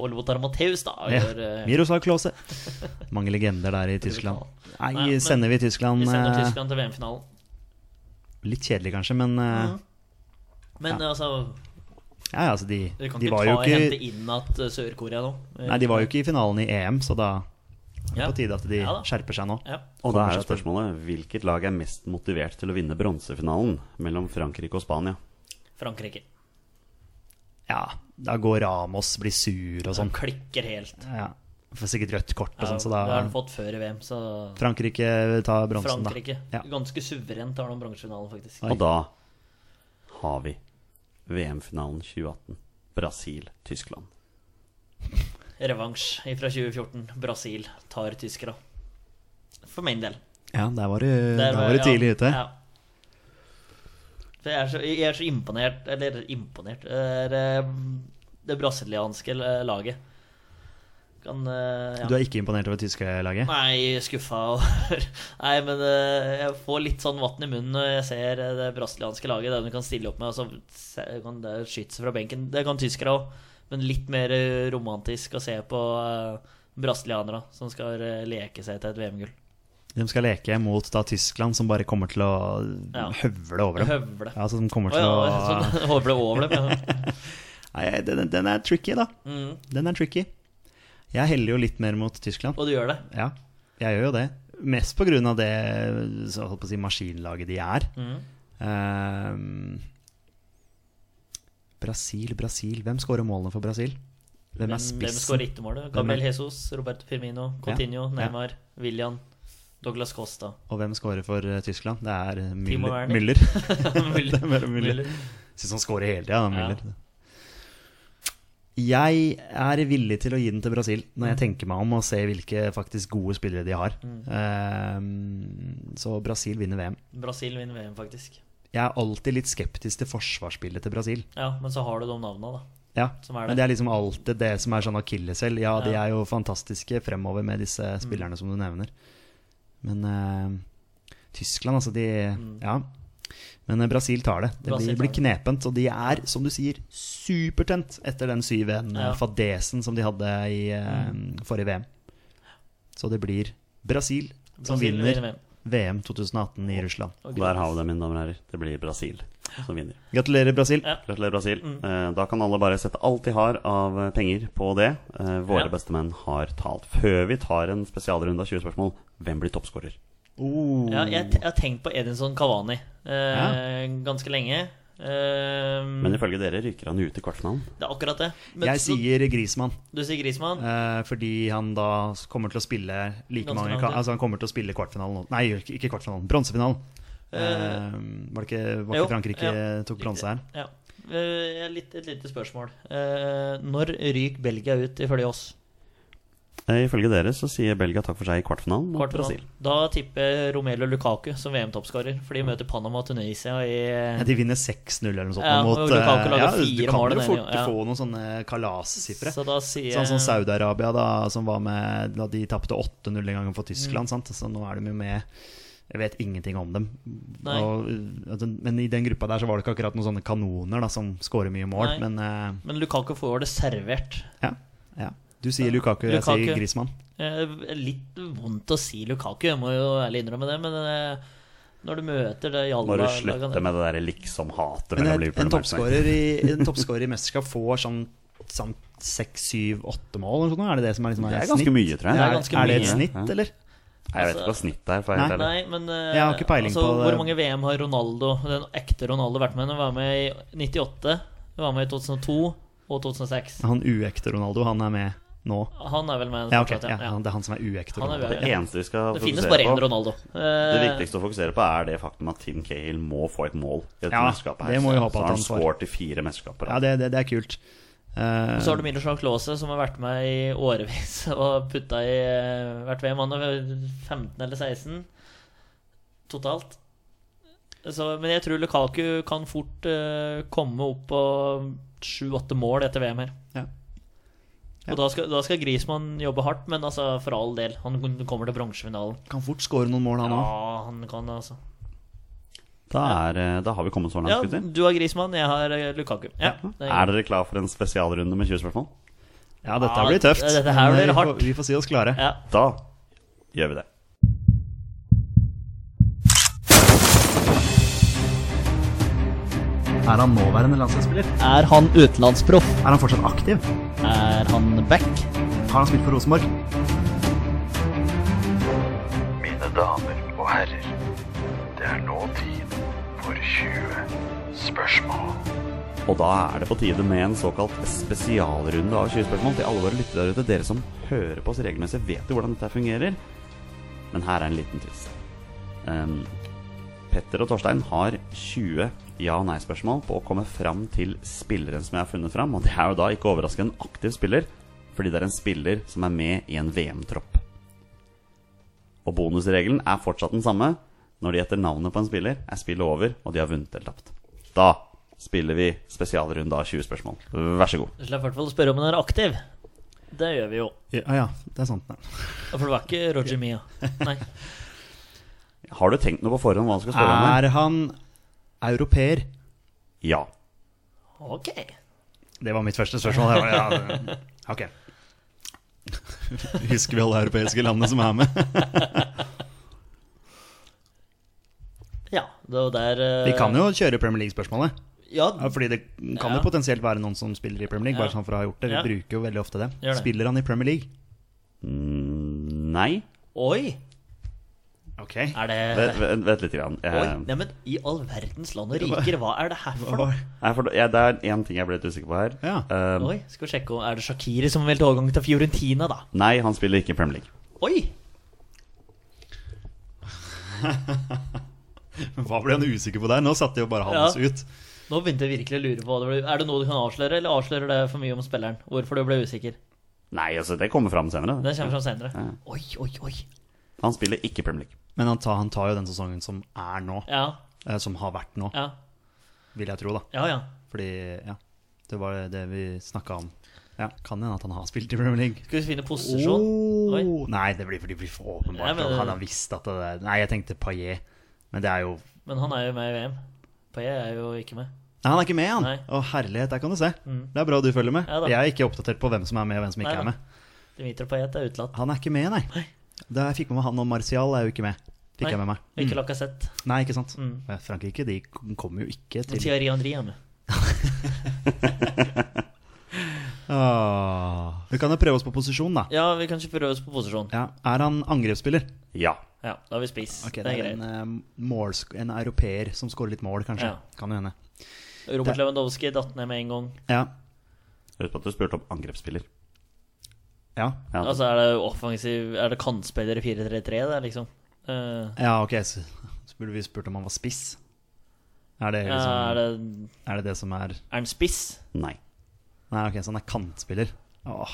S3: Og Lothar Matheus, da.
S4: Ja.
S3: Gjør, eh,
S4: Miroslav Klause. Mange legender der i Tyskland. Nei,
S3: Nei, men-
S4: sender vi Tyskland,
S3: vi sender
S4: eh,
S3: Tyskland til VM-finalen.
S4: Litt kjedelig kanskje, men eh,
S3: Mhm. Men altså,
S4: ja, ja, altså de,
S3: du kan
S4: de
S3: ikke
S4: var
S3: ta
S4: jo
S3: og hente
S4: ikke
S3: inn at eh, Sør-Korea nå.
S4: Nei, de var jo ikke i finalen i EM, så da er det
S3: Ja.
S4: på tide at de
S3: Ja da.
S4: skjerper seg nå.
S3: ja.
S2: Og da er
S4: Kommer
S2: jo
S4: seg til.
S2: spørsmålet hvilket lag er mest motivert til å vinne bronsefinalen mellom Frankrike og Spania?
S3: Frankrike.
S4: Ja, da går Ramos, blir sur og
S3: Han
S4: sånn.
S3: klikker helt.
S4: Ja. Får sikkert rødt kort og
S3: Ja,
S4: sånn, så
S3: det har
S4: da
S3: han fått før i VM, så
S4: Frankrike tar bronsen, da.
S3: Frankrike.
S4: Ja.
S3: Ganske suverent har de bronsefinalen, faktisk.
S4: Oi.
S2: Og da har vi VM-finalen 2018. Brasil-Tyskland.
S3: Revansj fra 2014. Brasil tar tyskere. For min del.
S4: Ja, der var du,
S3: Der
S4: der Eh, var du
S3: jeg-
S4: tidlig ute.
S3: Ja. For jeg er så, jeg er så imponert Eller imponert er, eh, Det brasilianske eh, laget. Kan eh, ja.
S4: Du er ikke imponert over det tyske laget?
S3: Nei, skuffa og Nei, men eh, jeg får litt sånn vann i munnen når jeg ser eh, det brasilianske laget. Det de kan stille opp med, og så se- kan det skyte seg fra benken. Det kan tyskere òg, men litt mer eh, romantisk å se på eh, brasilianere som skal eh, leke seg til et VM-gull.
S4: De skal leke mot da Tyskland, som bare kommer til å
S3: Ja.
S4: høvle over dem.
S3: Høvle.
S4: Ja, så de kommer
S3: Å
S4: til
S3: ja,
S4: å
S3: sånn, håper det over dem. Ja.
S4: Nei, den, den er tricky, da.
S3: Mm,
S4: Den er tricky. Jeg heller jo litt mer mot Tyskland.
S3: og du gjør det.
S4: Ja, jeg gjør jo det. Mest på grunn av det så jeg holdt på å si, maskinlaget de er.
S3: Mm.
S4: Ehm, Brasil, Brasil. Hvem skårer målene for Brasil? Hvem er
S3: Hvem, hvem
S4: spissen?
S3: skårer ikke målet?
S4: Hvem er-
S3: Gabriel Jesus, Roberto Firmino, Coutinho, Neymar, William, Douglas Costa.
S4: Og hvem skårer for eh, Tyskland? Det er eh,
S3: Timo
S4: Müller.
S3: Werner.
S4: Müller. det
S3: Müller.
S4: er bare Müller.
S3: Müller.
S4: Syns han skårer hele tida,
S3: Ja.
S4: Müller. Jeg er villig til å gi den til Brasil når
S3: Mm.
S4: jeg tenker meg om og ser hvilke faktisk gode spillere de har. Ehm, så Brasil vinner VM.
S3: Brasil vinner VM, faktisk.
S4: Jeg er alltid litt skeptisk til forsvarsspillet til Brasil.
S3: Ja, men så har du de navna, da.
S4: Ja,
S3: Som Sånn er det.
S4: Men det er liksom alltid det som er sånn akilleshæl. Ja, de
S3: Ja. Mm.
S4: er jo fantastiske fremover med disse spillerne som du nevner. Men eh, Tyskland, altså de Ja. Men eh, Brasil tar det. Det
S3: Mm. Brasil
S4: blir,
S3: tar
S4: blir
S3: det.
S4: knepent. Og de er, som du sier, supertent etter den 7-1-fadesen
S3: Ja. Mm.
S4: som de hadde i eh, forrige VM. Så det blir Brasil som
S3: Brasil
S4: vinner
S3: VM.
S4: VM 2018 i Russland.
S3: Og
S2: Og der har vi det, mine damer og herrer. Det blir Brasil som vinner.
S4: Gratulerer, Brasil.
S3: Ja.
S2: Gratulerer, Brasil.
S3: Mm.
S2: Eh, Da kan alle bare sette alt de har av eh, penger på det. Eh, Våre
S3: Ja.
S2: bestemenn har talt. Før vi tar en spesialrunde av 20 spørsmål, hvem blir toppskårer?
S4: Oh.
S3: Ja, jeg, te- jeg har tenkt på Edinson Cavani eh, ganske lenge. Eh,
S2: Men ifølge dere ryker han ut i kvartfinalen.
S3: det er akkurat det. Men
S4: Jeg
S3: så-
S4: sier Grismann.
S3: Du sier Grismann.
S4: Eh, fordi han da kommer til å spille like
S3: Ganske
S4: mange
S3: mange
S4: ka-
S3: til.
S4: Altså han kommer til å spille kvartfinalen nå. Nei, ikke ikke kvartfinalen, bronsefinalen. Eh, var det ikke, var
S3: jo,
S4: ikke Frankrike
S3: ja.
S4: tok bronse her?
S3: Ja. Eh, jeg har litt, et lite spørsmål. Eh, når ryker Belgia ut ifølge oss?
S2: Eh, Ifølge dere så sier Belgia takk for seg i kvartfinalen mot
S3: Kvartfinalen.
S2: Brasil.
S3: Da tipper Romelu Lukaku som VM-toppskårer, for de møter Panama og Tunisia
S4: Mm. Ja,
S3: i
S4: Eh, De vinner 6-0 eller noe sånt.
S3: Ja,
S4: nå
S3: og
S4: mot,
S3: Lukaku
S4: eh,
S3: lager fire
S4: du
S3: mål
S4: kan jo
S3: den
S4: fort
S3: gangen, ja.
S4: få noen sånne kalassifre.
S3: Så eh, da sier
S4: Sånn som Saudi-Arabia, da, som var med da de tapte 8-0 en gang for
S3: Mm.
S4: Tyskland. Sant? Så nå er de jo med Jeg vet ingenting om dem.
S3: Nei.
S4: Og, eh, at den- men i den gruppa der så var det ikke akkurat noen sånne kanoner da, som scorer mye mål.
S3: Nei.
S4: Men eh,
S3: Men Lukaku får det servert.
S4: Ja, ja. Du sier Lukaku, jeg
S3: Lukaku.
S4: sier Grismann.
S3: Eh, litt vondt å si Lukaku, jeg må jo ærlig innrømme det, men eh, når du møter det
S2: Må
S3: Hjalmar
S2: du slutte med det derre liksom-hatet
S4: Men
S2: mellom
S4: en, en,
S2: Liverpool og Manchester United?
S4: toppskårer i, en toppskårer i mesterskap får sånn sånn seks, syv, åtte mål eller sånn? Er det det som er, liksom,
S2: Det er ganske mye, tror
S3: Det
S2: jeg.
S3: er
S4: Er, er,
S3: ganske
S4: det et
S3: mye.
S4: snitt,
S2: Ja.
S4: eller?
S2: Nei, Jeg vet ikke hva snittet er. For å være helt ærlig.
S3: Nei, men eh,
S4: Jeg har ikke peiling
S3: altså,
S4: på det.
S3: Hvor mange VM har Ronaldo, den ekte Ronaldo, vært med? Han var med i 98, han var med i 2002 og 2006.
S4: Han uekte Ronaldo, han er med nå.
S3: Han er vel med
S4: Ja, ok.
S3: fortsatt,
S4: Ja,
S3: ja.
S4: han- det er han som er uekte
S3: Han er
S4: Ronaldo.
S3: uekte.
S2: Det eneste vi skal
S3: Det finnes bare
S2: fokusere
S3: én
S2: på,
S3: Ronaldo.
S2: det
S3: Eh,
S2: viktigste å fokusere på, er det faktum at Tim Cahill må få et mål i dette
S4: Ja,
S2: mesterskapet.
S4: det må vi håpe
S2: så
S4: at
S2: har han
S4: han får.
S2: skåret i fire mesterskap på
S4: Ja,
S2: rad.
S4: det, det, det er kult. Eh,
S3: Og så har du Miroslav Klause, som har vært med i årevis og putta i eh, hvert VM. Han er 15 eller 16 totalt. Så, men jeg tror Lukaku kan fort eh, komme opp på 7-8 mål etter VM her.
S4: Eh, Ja. Ja.
S3: Og da skal, da skal Grismann jobbe hardt, men altså, for all del. Han kommer til bronsefinalen.
S4: kan fort skåre noen mål, han
S3: Ja,
S4: òg.
S3: han kan det, altså.
S2: Da, er, eh, da har vi kommet så langt,
S3: Ja,
S2: gutter.
S3: du har Grismann, jeg har eh, Lukaku. Ja, det
S2: Er dere klar for en spesialrunde med 20 spørsmål?
S4: Ja, dette
S3: Ja,
S4: blir tøft.
S3: dette her
S4: Men
S3: blir
S4: vi får-
S3: hardt.
S4: Vi får si oss klare.
S3: ja.
S2: Da gjør vi det.
S4: Er han nåværende landslagsspiller?
S3: Er han utenlandsproff?
S4: Er han fortsatt aktiv?
S3: Er han back?
S4: Har han spilt for Rosenborg?
S1: Mine damer og herrer, det er nå tid for 20 spørsmål.
S2: Og da er det på tide med en såkalt spesialrunde av 20 spørsmål til alle våre lyttere der ute. Dere som hører på oss regelmessig, vet jo hvordan dette fungerer. Men her er en liten twist. Um, Petter og Torstein har 20 ja- og nei-spørsmål på å komme fram til spilleren som jeg har funnet fram. Og det er jo da ikke overraskende en aktiv spiller, fordi det er en spiller som er med i en VM-tropp. Og bonusregelen er fortsatt den samme. Når de etter navnet på en spiller er spillet over, og de har vunnet eller tapt. Da spiller vi spesialrunde av 20 spørsmål. Vær så god.
S3: Du slapp i hvert fall å spørre om hun er aktiv. Det gjør vi jo.
S4: Ja, ah, ja, det er sant. Ja.
S3: For det var ikke Roger Mia. Nei.
S2: Har du tenkt noe på forhånd hva du skal spørre om? her?
S4: Er han europeer?
S2: Ja.
S3: Ok.
S4: Det var mitt første spørsmål. Jeg var, ja, det- ok. Husker vi alle europeiske landene som er med?
S3: Ja, det var der eh,
S4: Vi kan jo kjøre Premier League-spørsmålet.
S3: Ja,
S4: Ja, fordi det kan
S3: Ja.
S4: jo potensielt være noen som spiller i Premier League. Bare
S3: Ja.
S4: sånn for å ha gjort det. Vi
S3: Ja.
S4: bruker jo veldig ofte det.
S3: Gjør det.
S4: Spiller han i Premier League?
S2: Mm, nei.
S3: oi!
S4: Ok.
S3: Er det
S2: Vent, vent, vent litt. Grann. Eh,
S3: Oi,
S2: Jeg,
S3: neimen i all verdens land og riker, hva er det her for noe?
S2: Nei, for det- ja, det er én ting jeg ble litt usikker på her.
S4: Ja.
S2: Eh,
S3: Oi, skal vi sjekke om Er det Shakiri som velter overgang til Fiorentina, da?
S2: nei, han spiller ikke i Premier League.
S3: Oi!
S4: Hva ble han usikker på der? Nå satte jo bare han
S3: Ja.
S4: oss ut.
S3: Nå begynte jeg virkelig å lure på hva det ble. Er det noe du kan avsløre, eller avslører det for mye om spilleren? Hvorfor du ble usikker?
S2: Nei, altså, det kommer fram senere.
S3: Det kommer fram senere.
S2: Ja.
S3: Oi, oi, oi.
S2: Han spiller ikke i Premier League.
S4: Men han tar, han tar jo den sesongen som er nå.
S3: Ja,
S4: eh, Som har vært nå,
S3: ja,
S4: vil jeg tro, da.
S3: ja. ja.
S4: Fordi, ja. Det var det vi snakka om. Ja, Kan hende at han har spilt i Premier League.
S3: Skal vi finne posisjon? Oi.
S4: Oh, nei, det blir, for det blir for
S3: Ja,
S4: åpenbart.
S3: men-
S4: Han har visst at det er Nei, jeg tenkte Paillet. Men det er jo Nei,
S3: Men han er jo med i VM. Paillet er jo ikke med.
S4: han er ikke med, han!
S3: Nei. Mm.
S4: Å, herlighet, der kan du se. Det er bra du følger med.
S3: Ja da.
S4: jeg er ikke oppdatert på hvem som er med, og hvem som
S3: Nei
S4: ikke
S3: da.
S4: er med.
S3: Dimitro Paillet er utelatt.
S4: Han er ikke med, nei. Da jeg fikk med meg han og Martial er jo ikke med. Fikk
S3: Nei,
S4: jeg med meg.
S3: og Ikke Lacassette.
S4: Nei, ikke sant.
S3: Mm.
S4: Ja, Frankrike de kom- kommer jo ikke
S3: Men
S4: til
S3: Thierry Henry er med.
S4: Åh. Vi kan jo prøve oss på posisjon, da.
S3: Ja, vi kan ikke prøve oss på posisjon.
S4: Ja. Er han angrepsspiller?
S2: Ja.
S3: Ja, da har vi spiss.
S4: Ok,
S3: det er
S4: en,
S3: greit.
S4: eh, målsk- en europeer som scorer litt mål, kanskje.
S3: Ja.
S4: Kan jo hende. eh,
S3: Robert Lewandowski datt ned med en gang.
S4: Ja.
S2: Husk på at du spurte om angrepsspiller.
S4: Ja.
S2: Ja,
S3: Altså, er det offensiv Er det kantspiller i 4-3-3, det, liksom? Eh,
S4: ja, ok, så, så burde vi spurt om han var spiss. Er det, liksom,
S3: er
S4: er, det...
S3: det
S4: er det det som er
S3: Er han spiss?
S2: Nei.
S4: Nei, ok, så han er kantspiller. Åh.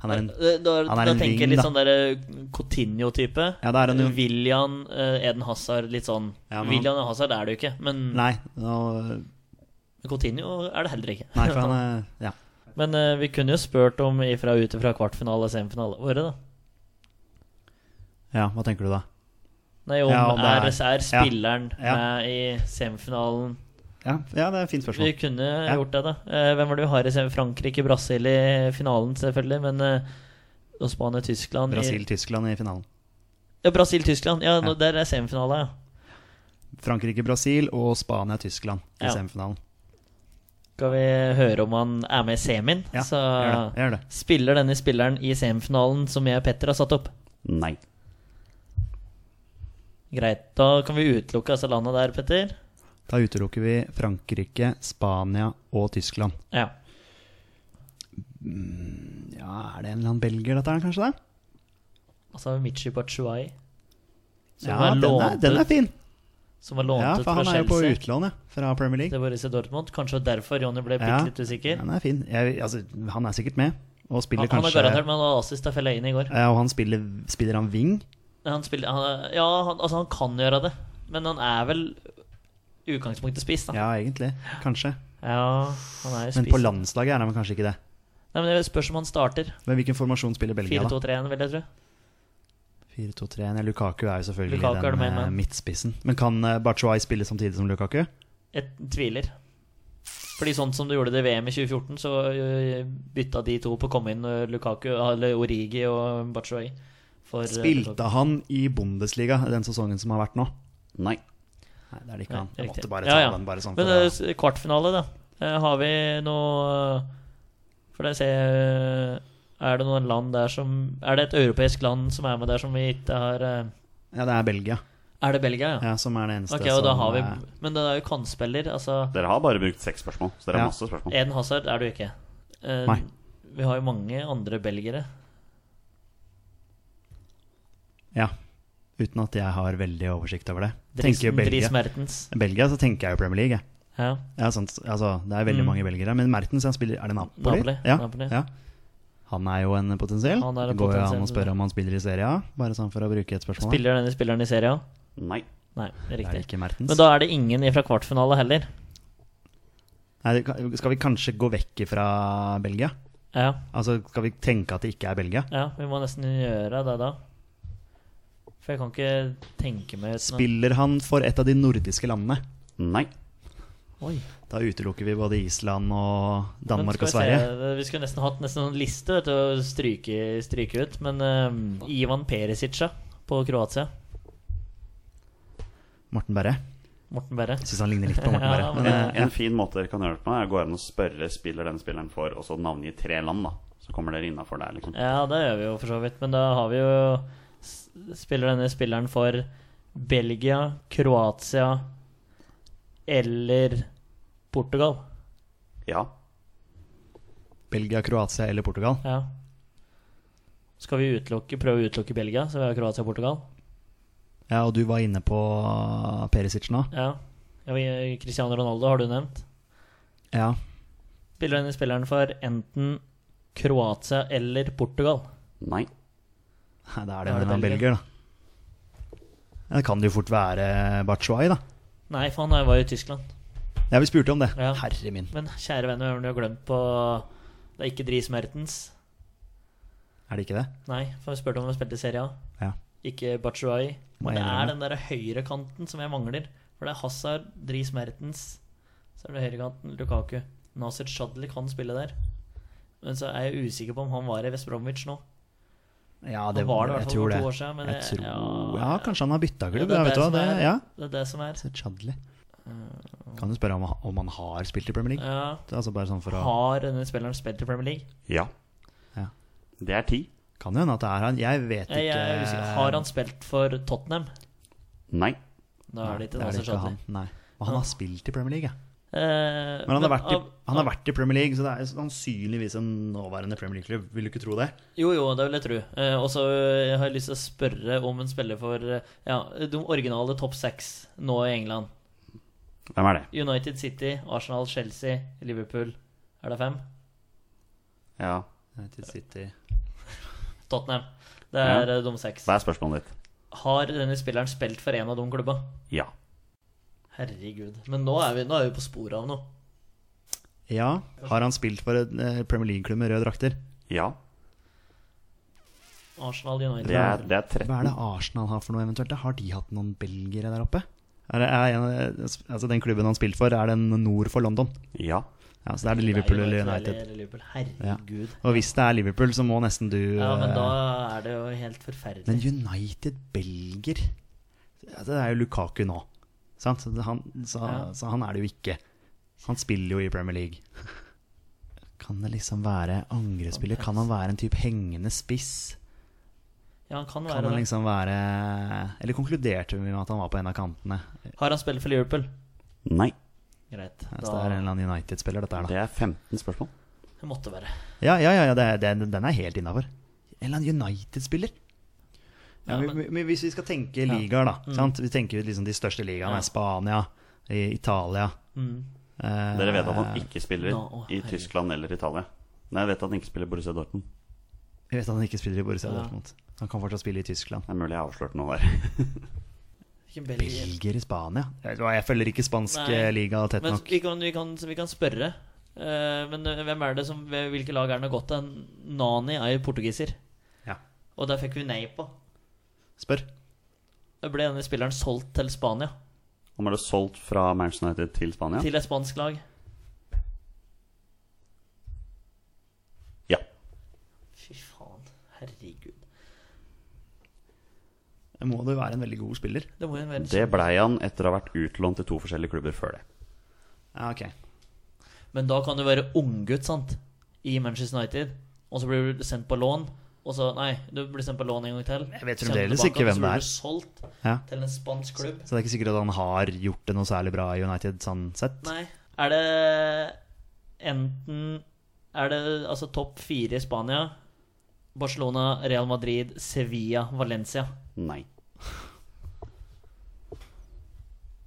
S4: Han er en
S3: Eh, da,
S4: han er
S3: da
S4: en
S3: tenker jeg
S4: wing,
S3: litt
S4: da.
S3: sånn der eh, Coutinho-type.
S4: Ja, det er han jo.
S3: William, eh, Eden Hazard, litt sånn.
S4: Ja, men han-
S3: William og Hazard er det jo ikke, men
S4: Nei, nå,
S3: Coutinho er det heller ikke.
S4: nei, for han er Ja.
S3: Men eh, vi kunne jo spurt om ifra ut fra kvartfinale og semifinale våre, da.
S4: ja hva tenker du da?
S3: Nei, om
S4: Ja, om det
S3: er,
S4: er-
S3: er, spilleren
S4: Ja.
S3: med i semifinalen
S4: Ja, ja det er et fint spørsmål.
S3: Vi kunne gjort det, da. Eh, Hvem var det vi har i sem- Frankrike, Brasil i finalen, selvfølgelig, men eh, og Spania, Tyskland i-
S4: Brasil-Tyskland i finalen.
S3: Ja, Brasil-Tyskland. Ja, nå-
S4: Ja.
S3: der er semifinale, ja.
S4: Frankrike-Brasil og Spania-Tyskland i
S3: Ja.
S4: semifinalen.
S3: Skal vi høre om han er med i semien?
S4: Ja,
S3: så
S4: gjør det. Gjør det.
S3: spiller denne spilleren i semifinalen som jeg og Petter har satt opp.
S2: Nei.
S3: Greit. Da kan vi utelukke altså landet der, Petter.
S4: Da utelukker vi Frankrike, Spania og Tyskland.
S3: Ja.
S4: Ja, Er det en eller annen belgier, dette her, kanskje? det?
S3: Og så har vi Michi Batshuayi, som
S4: Ja,
S3: var
S4: den er,
S3: lånt
S4: den er
S3: ut-
S4: fin!
S3: som var
S4: Ja,
S3: lånt ut
S4: for
S3: fra
S4: han er jo på
S3: Chelsea
S4: utlån, ja. Fra Premier League.
S3: til Borussia Dortmund. Kanskje derfor Jonny ble bitte
S4: Ja.
S3: litt usikker.
S4: Den er fin. Jeg, altså, han er sikkert med, og spiller
S3: Han, han er
S4: kanskje
S3: garantert, men han hadde assist til Fellaini i går.
S4: ja, Og han spiller, spiller han wing?
S3: Han spiller, han, ja, han, altså han kan gjøre det, men han er vel i utgangspunktet spiss, da. Ja,
S4: Ja, egentlig. Kanskje.
S3: han er jo
S4: Men på
S3: spiss.
S4: landslaget er han vel kanskje ikke det.
S3: Nei, men Det spørs om han starter.
S4: Men hvilken formasjon spiller Belgia, da?
S3: 4-2-3-1, vil jeg tro.
S4: 4-2-3-1. Ja, Lukaku er jo selvfølgelig
S3: Lukaku er det
S4: den
S3: med,
S4: eh,
S3: men-
S4: midtspissen. Men kan eh, Batshuayi spille samtidig som Lukaku?
S3: Jeg tviler. Fordi sånn som du gjorde det i VM i 2014, så ø, bytta de to på å komme inn ø, Lukaku, eller Origi og Batshuayi. for, eh, ø,
S4: Spilte
S3: Lukaku.
S4: han i Bundesliga den sesongen som har vært nå?
S2: Nei.
S4: Nei, det er det ikke
S3: Nei,
S4: han. Jeg
S3: riktig.
S4: måtte bare
S3: Ja,
S4: ta
S3: ja.
S4: den bare sånn.
S3: Men
S4: for
S3: ø,
S4: å-
S3: s- kvartfinale, da. Eh, Har vi noe eh, For det ser jeg, ø, Er det noen land der som Er det et europeisk land som er med der som vi ikke har ø,
S4: ja, det er Belgia.
S3: Er det Belgia, ja?
S4: ja, som er det eneste
S3: eh, ok, og da
S4: som eh,
S3: har vi
S4: er-
S3: Men det er jo kantspiller. Altså,
S2: Dere har bare brukt seks spørsmål, så dere
S4: Ja.
S2: har masse spørsmål.
S3: Eden Hazard er du ikke. Eh,
S4: Nei.
S3: Vi har jo mange andre belgere.
S4: Ja. Uten at jeg har veldig oversikt over det. Tenker jo
S3: Dresden, Dries
S4: Belgia.
S3: Mertens.
S4: Belgia, så tenker jeg jo Premier League. jeg.
S3: Ja.
S4: Ja, sant. Altså, det er veldig
S3: Mm.
S4: mange belgere. Men Mertens han spiller, er det Napoli?
S3: Napoli,
S4: Ja.
S3: Napoli.
S4: Ja. Han er jo en potensiell.
S3: Han er en
S4: det går jo an å
S3: potensiell.
S4: spørre om han spiller i Serie A, bare sånn for å bruke et spørsmål.
S3: Spiller denne spilleren i serien?
S2: Nei.
S3: Nei, det er
S4: Det er
S3: riktig.
S4: ikke Mertens.
S3: Men da er det ingen fra kvartfinale heller.
S4: Nei, det kan- skal vi kanskje gå vekk fra Belgia?
S3: Ja,
S4: Altså, skal vi tenke at det ikke er Belgia?
S3: ja vi må nesten gjøre det da. For jeg kan ikke tenke meg uten-
S4: Spiller han for et av de nordiske landene?
S2: Nei.
S3: Oi.
S4: Da utelukker vi både Island og Danmark
S3: Men
S4: og
S3: skal vi
S4: Sverige.
S3: se, Vi skulle nesten hatt nesten en liste vet du, å stryke, stryke ut, men eh, Ivan Perisic ja, på Kroatia.
S4: Morten Berre.
S3: Morten Berre.
S4: Syns han ligner litt på Morten
S3: Ja,
S4: Berre.
S3: men
S4: Men,
S2: En,
S4: eh,
S2: en fin måte dere kan gjøre det på, er å gå inn og spørre spiller den spilleren for, og så navngi tre land, da. Så kommer dere innafor der, liksom.
S3: Ja, det gjør vi jo for så vidt, men da har vi jo s- Spiller denne spilleren for Belgia, Kroatia eller Portugal?
S2: Ja.
S4: Belgia, Kroatia eller Portugal?
S3: Ja. Skal vi utelukke, prøve å utelukke Belgia, så vi har Kroatia og Portugal?
S4: Ja, og du var inne på Perisic nå.
S3: Ja. Ja, vi- Cristiano Ronaldo har du nevnt.
S4: Ja.
S3: Spiller denne spilleren for enten Kroatia eller Portugal?
S2: Nei.
S4: Nei, Da er det
S3: Da er det
S4: en av
S3: Belgia.
S4: belgier, da. Ja, det kan det jo fort være Batshuayi, da.
S3: Nei, for han var jo i Tyskland.
S4: Ja, vi spurte om det.
S3: Ja.
S4: Herre min.
S3: Men kjære venn, hvem har du glemt på Det er ikke Dries Mertens.
S4: Er det ikke det?
S3: Nei, for vi spurte om han spilte i Serie A.
S4: Ja.
S3: Ikke Batshuayi.
S4: Må
S3: Og
S4: jeg
S3: det
S4: innrømme.
S3: er den derre høyrekanten som jeg mangler. For det er Hazard, Dries Mertens, så er det høyrekanten Lukaku. Nasir Shadli kan spille der. Men så er jeg usikker på om han var i West Bromwich nå.
S4: Ja,
S3: Han
S4: det
S3: var det i hvert
S4: jeg
S3: fall
S4: tror
S3: for
S4: det.
S3: to år siden, men
S4: jeg
S3: det-
S4: tror,
S3: ja.
S4: ja, kanskje han har bytta klubb.
S3: det er
S4: Ja, vet du hva,
S3: som
S4: det,
S3: er-
S4: ja.
S3: Det er det som er.
S4: Så Chadli. Kan du spørre om, om han har spilt i Premier League?
S3: Ja.
S4: Altså bare sånn for å
S3: Har denne spilleren spilt i Premier League?
S2: Ja.
S4: Ja.
S2: Det er ti.
S4: Kan jo hende at det er han. Jeg vet ikke
S3: Jeg er usikker. Har han spilt for Tottenham?
S2: Nei.
S3: Da er det ikke
S4: Nei,
S3: Nasser Shadli.
S4: han. Nei. Og han har spilt i Premier League, ja.
S3: Eh,
S4: Men han har, vært i,
S3: av-
S4: han har vært i Premier League, så det er sannsynligvis en nåværende Premier League-klubb. Vil du ikke tro det?
S3: Jo, jo, det vil jeg tro. Eh, og så eh, har jeg lyst til å spørre om en spiller for eh, ja, de originale topp seks nå i England.
S2: Hvem er det?
S3: United City, Arsenal, Chelsea, Liverpool. Er det fem?
S2: Ja.
S4: United City.
S3: Tottenham. Det er
S2: Ja.
S3: eh, de seks.
S2: Hva er spørsmålet ditt?
S3: Har denne spilleren spilt for en av de klubba?
S2: Ja.
S3: Herregud. Men nå er vi, nå er vi på sporet av noe.
S4: Ja. Har han spilt for en eh, Premier League-klubb med røde drakter?
S2: Ja.
S3: Arsenal, United
S2: Det er, det er 13.
S4: Hva er det Arsenal har for noe eventuelt? da? Har de hatt noen belgere der oppe? Er det, er en, altså Den klubben han spilte for, er den nord for London.
S2: Ja.
S4: Ja, Så da er det Liverpool eller United.
S3: eller Liverpool. Herregud.
S4: Og hvis det er Liverpool, så må nesten du
S3: Ja, men da
S4: eh,
S3: er det jo helt forferdelig.
S4: Men United belger Ja, Altså, Det er jo Lukaku nå. Sant? Så, han, så,
S3: Ja.
S4: så han er det jo ikke. Han spiller jo i Premier League. Kan det liksom være angrespiller? Kan han være en type hengende spiss?
S3: ja, han kan
S4: Kan
S3: være
S4: han
S3: det.
S4: liksom være Eller konkluderte vi med at han var på en av kantene?
S3: Har han spilt for Liverpool?
S2: Nei.
S3: Greit.
S4: liksom- Ja, Så det er en
S3: Da
S4: eller annen United-spiller, dette her, da.
S2: Det er 15 spørsmål.
S3: det måtte være.
S4: Ja, ja, ja, ja det, er- den, den er helt innafor. En eller annen United-spiller. Ja,
S3: Ja,
S4: men, men, hvis vi skal tenke ligaer, da. Sant? Vi tenker jo liksom de største ligaene
S3: Ja.
S4: er Spania, i Italia
S3: Mm.
S4: eh,
S2: Dere vet at han ikke spiller
S3: Nå, å,
S2: i
S3: herregud.
S2: Tyskland eller Italia. Nei, jeg vet at han ikke spiller Borussia Dortmund.
S4: Vi vet at han ikke spiller i Borussia
S3: Ja.
S4: Dortmund. Han kan fortsatt spille i Tyskland.
S2: Det er mulig jeg har avslørt noe der.
S3: Ikke Belgia.
S4: Belgier i Spania? Jeg, vet hva, jeg følger ikke spansk
S3: Nei.
S4: eh, liga tett
S3: Men
S4: nok.
S3: vi kan, vi kan, vi kan spørre. eh, men eh, hvem er det som, hvilke lag er det gått til? Nani er jo portugiser,
S4: Ja.
S3: og der fikk vi nei på.
S4: Spør.
S3: Da Ble denne spilleren solgt til Spania?
S2: Han ble solgt fra Manchester United til Spania.
S3: Til et spansk lag?
S2: Ja.
S3: Fy faen. Herregud.
S4: Må det være en veldig god spiller?
S3: Det må jo være
S2: Det blei han etter å ha vært utlånt til to forskjellige klubber før det.
S4: Ja, ok.
S3: Men da kan du være unggutt, sant? I Manchester United. Og så blir du sendt på lån, Og så Nei, du blir sendt på lån en gang til.
S4: Jeg vet
S3: Kjenner
S4: fremdeles
S3: tilbake,
S4: ikke
S3: og så
S4: hvem
S3: blir
S4: det er.
S3: du solgt
S4: Ja.
S3: til en spansk klubb.
S4: Så det er ikke sikkert at han har gjort det noe særlig bra i United sånn sett.
S3: Nei. Er det enten Er det altså topp fire i Spania? Barcelona, Real Madrid, Sevilla, Valencia.
S2: Nei.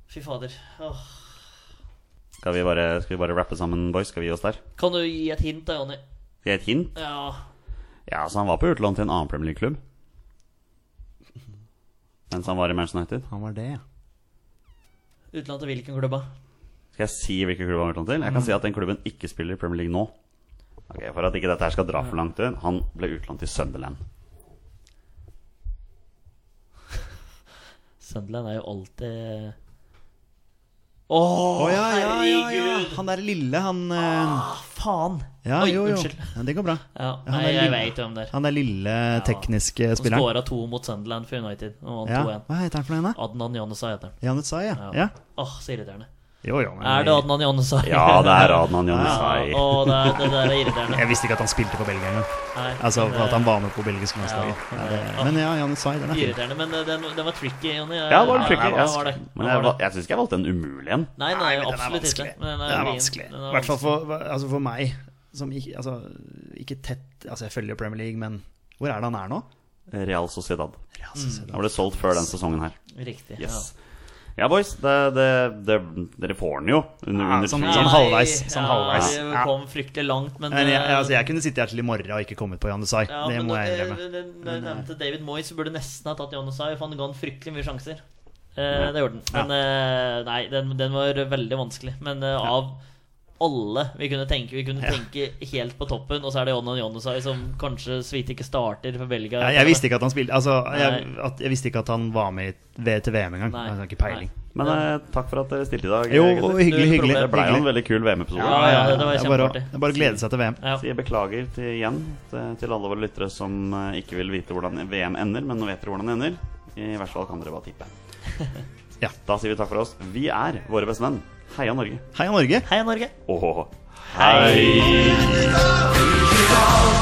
S3: Fy fader. Åh.
S2: Skal vi bare, skal vi bare rappe sammen, boys? Skal vi gi oss der?
S3: Kan du gi et hint da, Jonny?
S2: Skal jeg gi et hint?
S3: Ja.
S2: Ja, så han var på utlån til en annen Premier League-klubb. Mens han var i Manchester United.
S4: Han var det, ja.
S3: Utenland til hvilken klubb? da?
S2: Skal jeg si hvilken klubb han var utlånt til? Jeg kan si at den klubben ikke spiller i Premier League nå. Ok, For at ikke dette her skal dra for langt ut, han ble utlånt til Sunderland.
S3: Sunderland er jo alltid
S4: Å ja, ja, ja, ja. Han der lille, han eh,
S3: ah, Faen!
S4: Ja,
S3: Oi,
S4: jo, jo.
S3: unnskyld.
S4: Ja, det går bra.
S3: Ja,
S4: han
S3: nei,
S4: er
S3: jeg
S4: lille.
S3: veit hvem det er.
S4: Han der lille tekniske
S3: Han
S4: spilleren.
S3: skåra to mot Sunderland for United og vant
S4: Ja.
S3: 2-1.
S4: Hva heter han for noe? da?
S3: Adnan Janusai heter han.
S4: Janet Sai, ja.
S3: Ah. Ja.
S4: ja.
S3: Åh, så irriterende.
S4: Jo, jo, men
S3: Er det Adnan Janusai?
S2: Ja, det er Adnan Janusai.
S3: Å, det, er- det der er irriterende.
S4: Jeg visste ikke at han spilte for Belgia engang.
S3: Nei,
S4: Altså
S3: men,
S4: at han var med på belgisk landslag.
S3: Ja,
S4: Ja, det-
S3: ja.
S4: men ja, Janet Sai, den er fin.
S3: Irriterende, men eh, den, den var tricky, Jonny.
S2: Ja, det var en tricky.
S3: Ja,
S2: Ja,
S3: det var det.
S2: Men
S3: Det
S2: jeg,
S3: var
S2: val-
S3: det.
S2: jeg syns ikke jeg valgte en umulig en.
S3: Nei, nei,
S4: Nei, men den er
S3: absolutt ikke.
S4: vanskelig.
S3: Men den
S4: Det er
S3: vrien.
S4: vanskelig.
S3: Den er
S4: I hvert fall for, altså for meg, som ikke, altså, ikke tett Altså, jeg følger jo Premier League, men hvor er det han er nå?
S2: Real Sociedad.
S4: Real Sociedad.
S2: Han ble solgt før den sesongen her.
S3: vanskelig. Riktig.
S2: Yes. Ja, boys. Det, det, det, dere får den jo. Under,
S4: Ja,
S2: under
S4: sånn-
S2: tiden.
S4: sånn
S3: Nei,
S4: halvveis, sånn halvveis.
S3: Ja, vi
S4: Ja.
S3: kom fryktelig langt, men,
S4: Men jeg,
S3: eh,
S4: altså, jeg kunne sittet her til i morgen og ikke kommet på Janet Sai.
S3: Ja,
S4: Det
S3: men
S4: må jeg
S3: når-
S4: innrømme.
S3: eh, Når jeg nevnte David Moyes, så burde nesten ha tatt Jonasai, for han ga han fryktelig mye sjanser. Eh, det gjorde han. Men eh, nei, den, den var veldig vanskelig. Men eh, av alle vi kunne tenke Vi kunne tenke helt på toppen, og så er det Jonan Jonasai som kanskje så vidt ikke starter for Belgia.
S4: Jeg, jeg visste ikke at han spilte Altså, jeg,
S3: Nei.
S4: at, jeg visste ikke at han var med i- ved- til VM engang.
S3: Nei.
S4: Jeg har ikke peiling.
S3: Nei.
S2: Men eh, takk for at dere stilte i dag. eh,
S4: Jo,
S2: gutter.
S4: og hyggelig,
S3: Null
S4: hyggelig.
S3: problem.
S2: Det ble jo en
S4: hyggelig.
S2: veldig kul VM-episode.
S3: Ja, ja, det var
S4: Det er bare, å-
S3: kjempeartig.
S4: det er bare å glede seg til VM.
S3: Ja.
S2: Sier beklager til, igjen til, til alle våre lyttere som eh, ikke vil vite hvordan VM ender, men nå vet dere hvordan det ender. I hvert fall kan dere bare tippe.
S4: Ja.
S2: Da sier vi takk for oss. Vi er våre beste venn. Heia Norge.
S4: Heia Norge!
S3: Heia Norge!
S2: Og hei!
S1: Viral,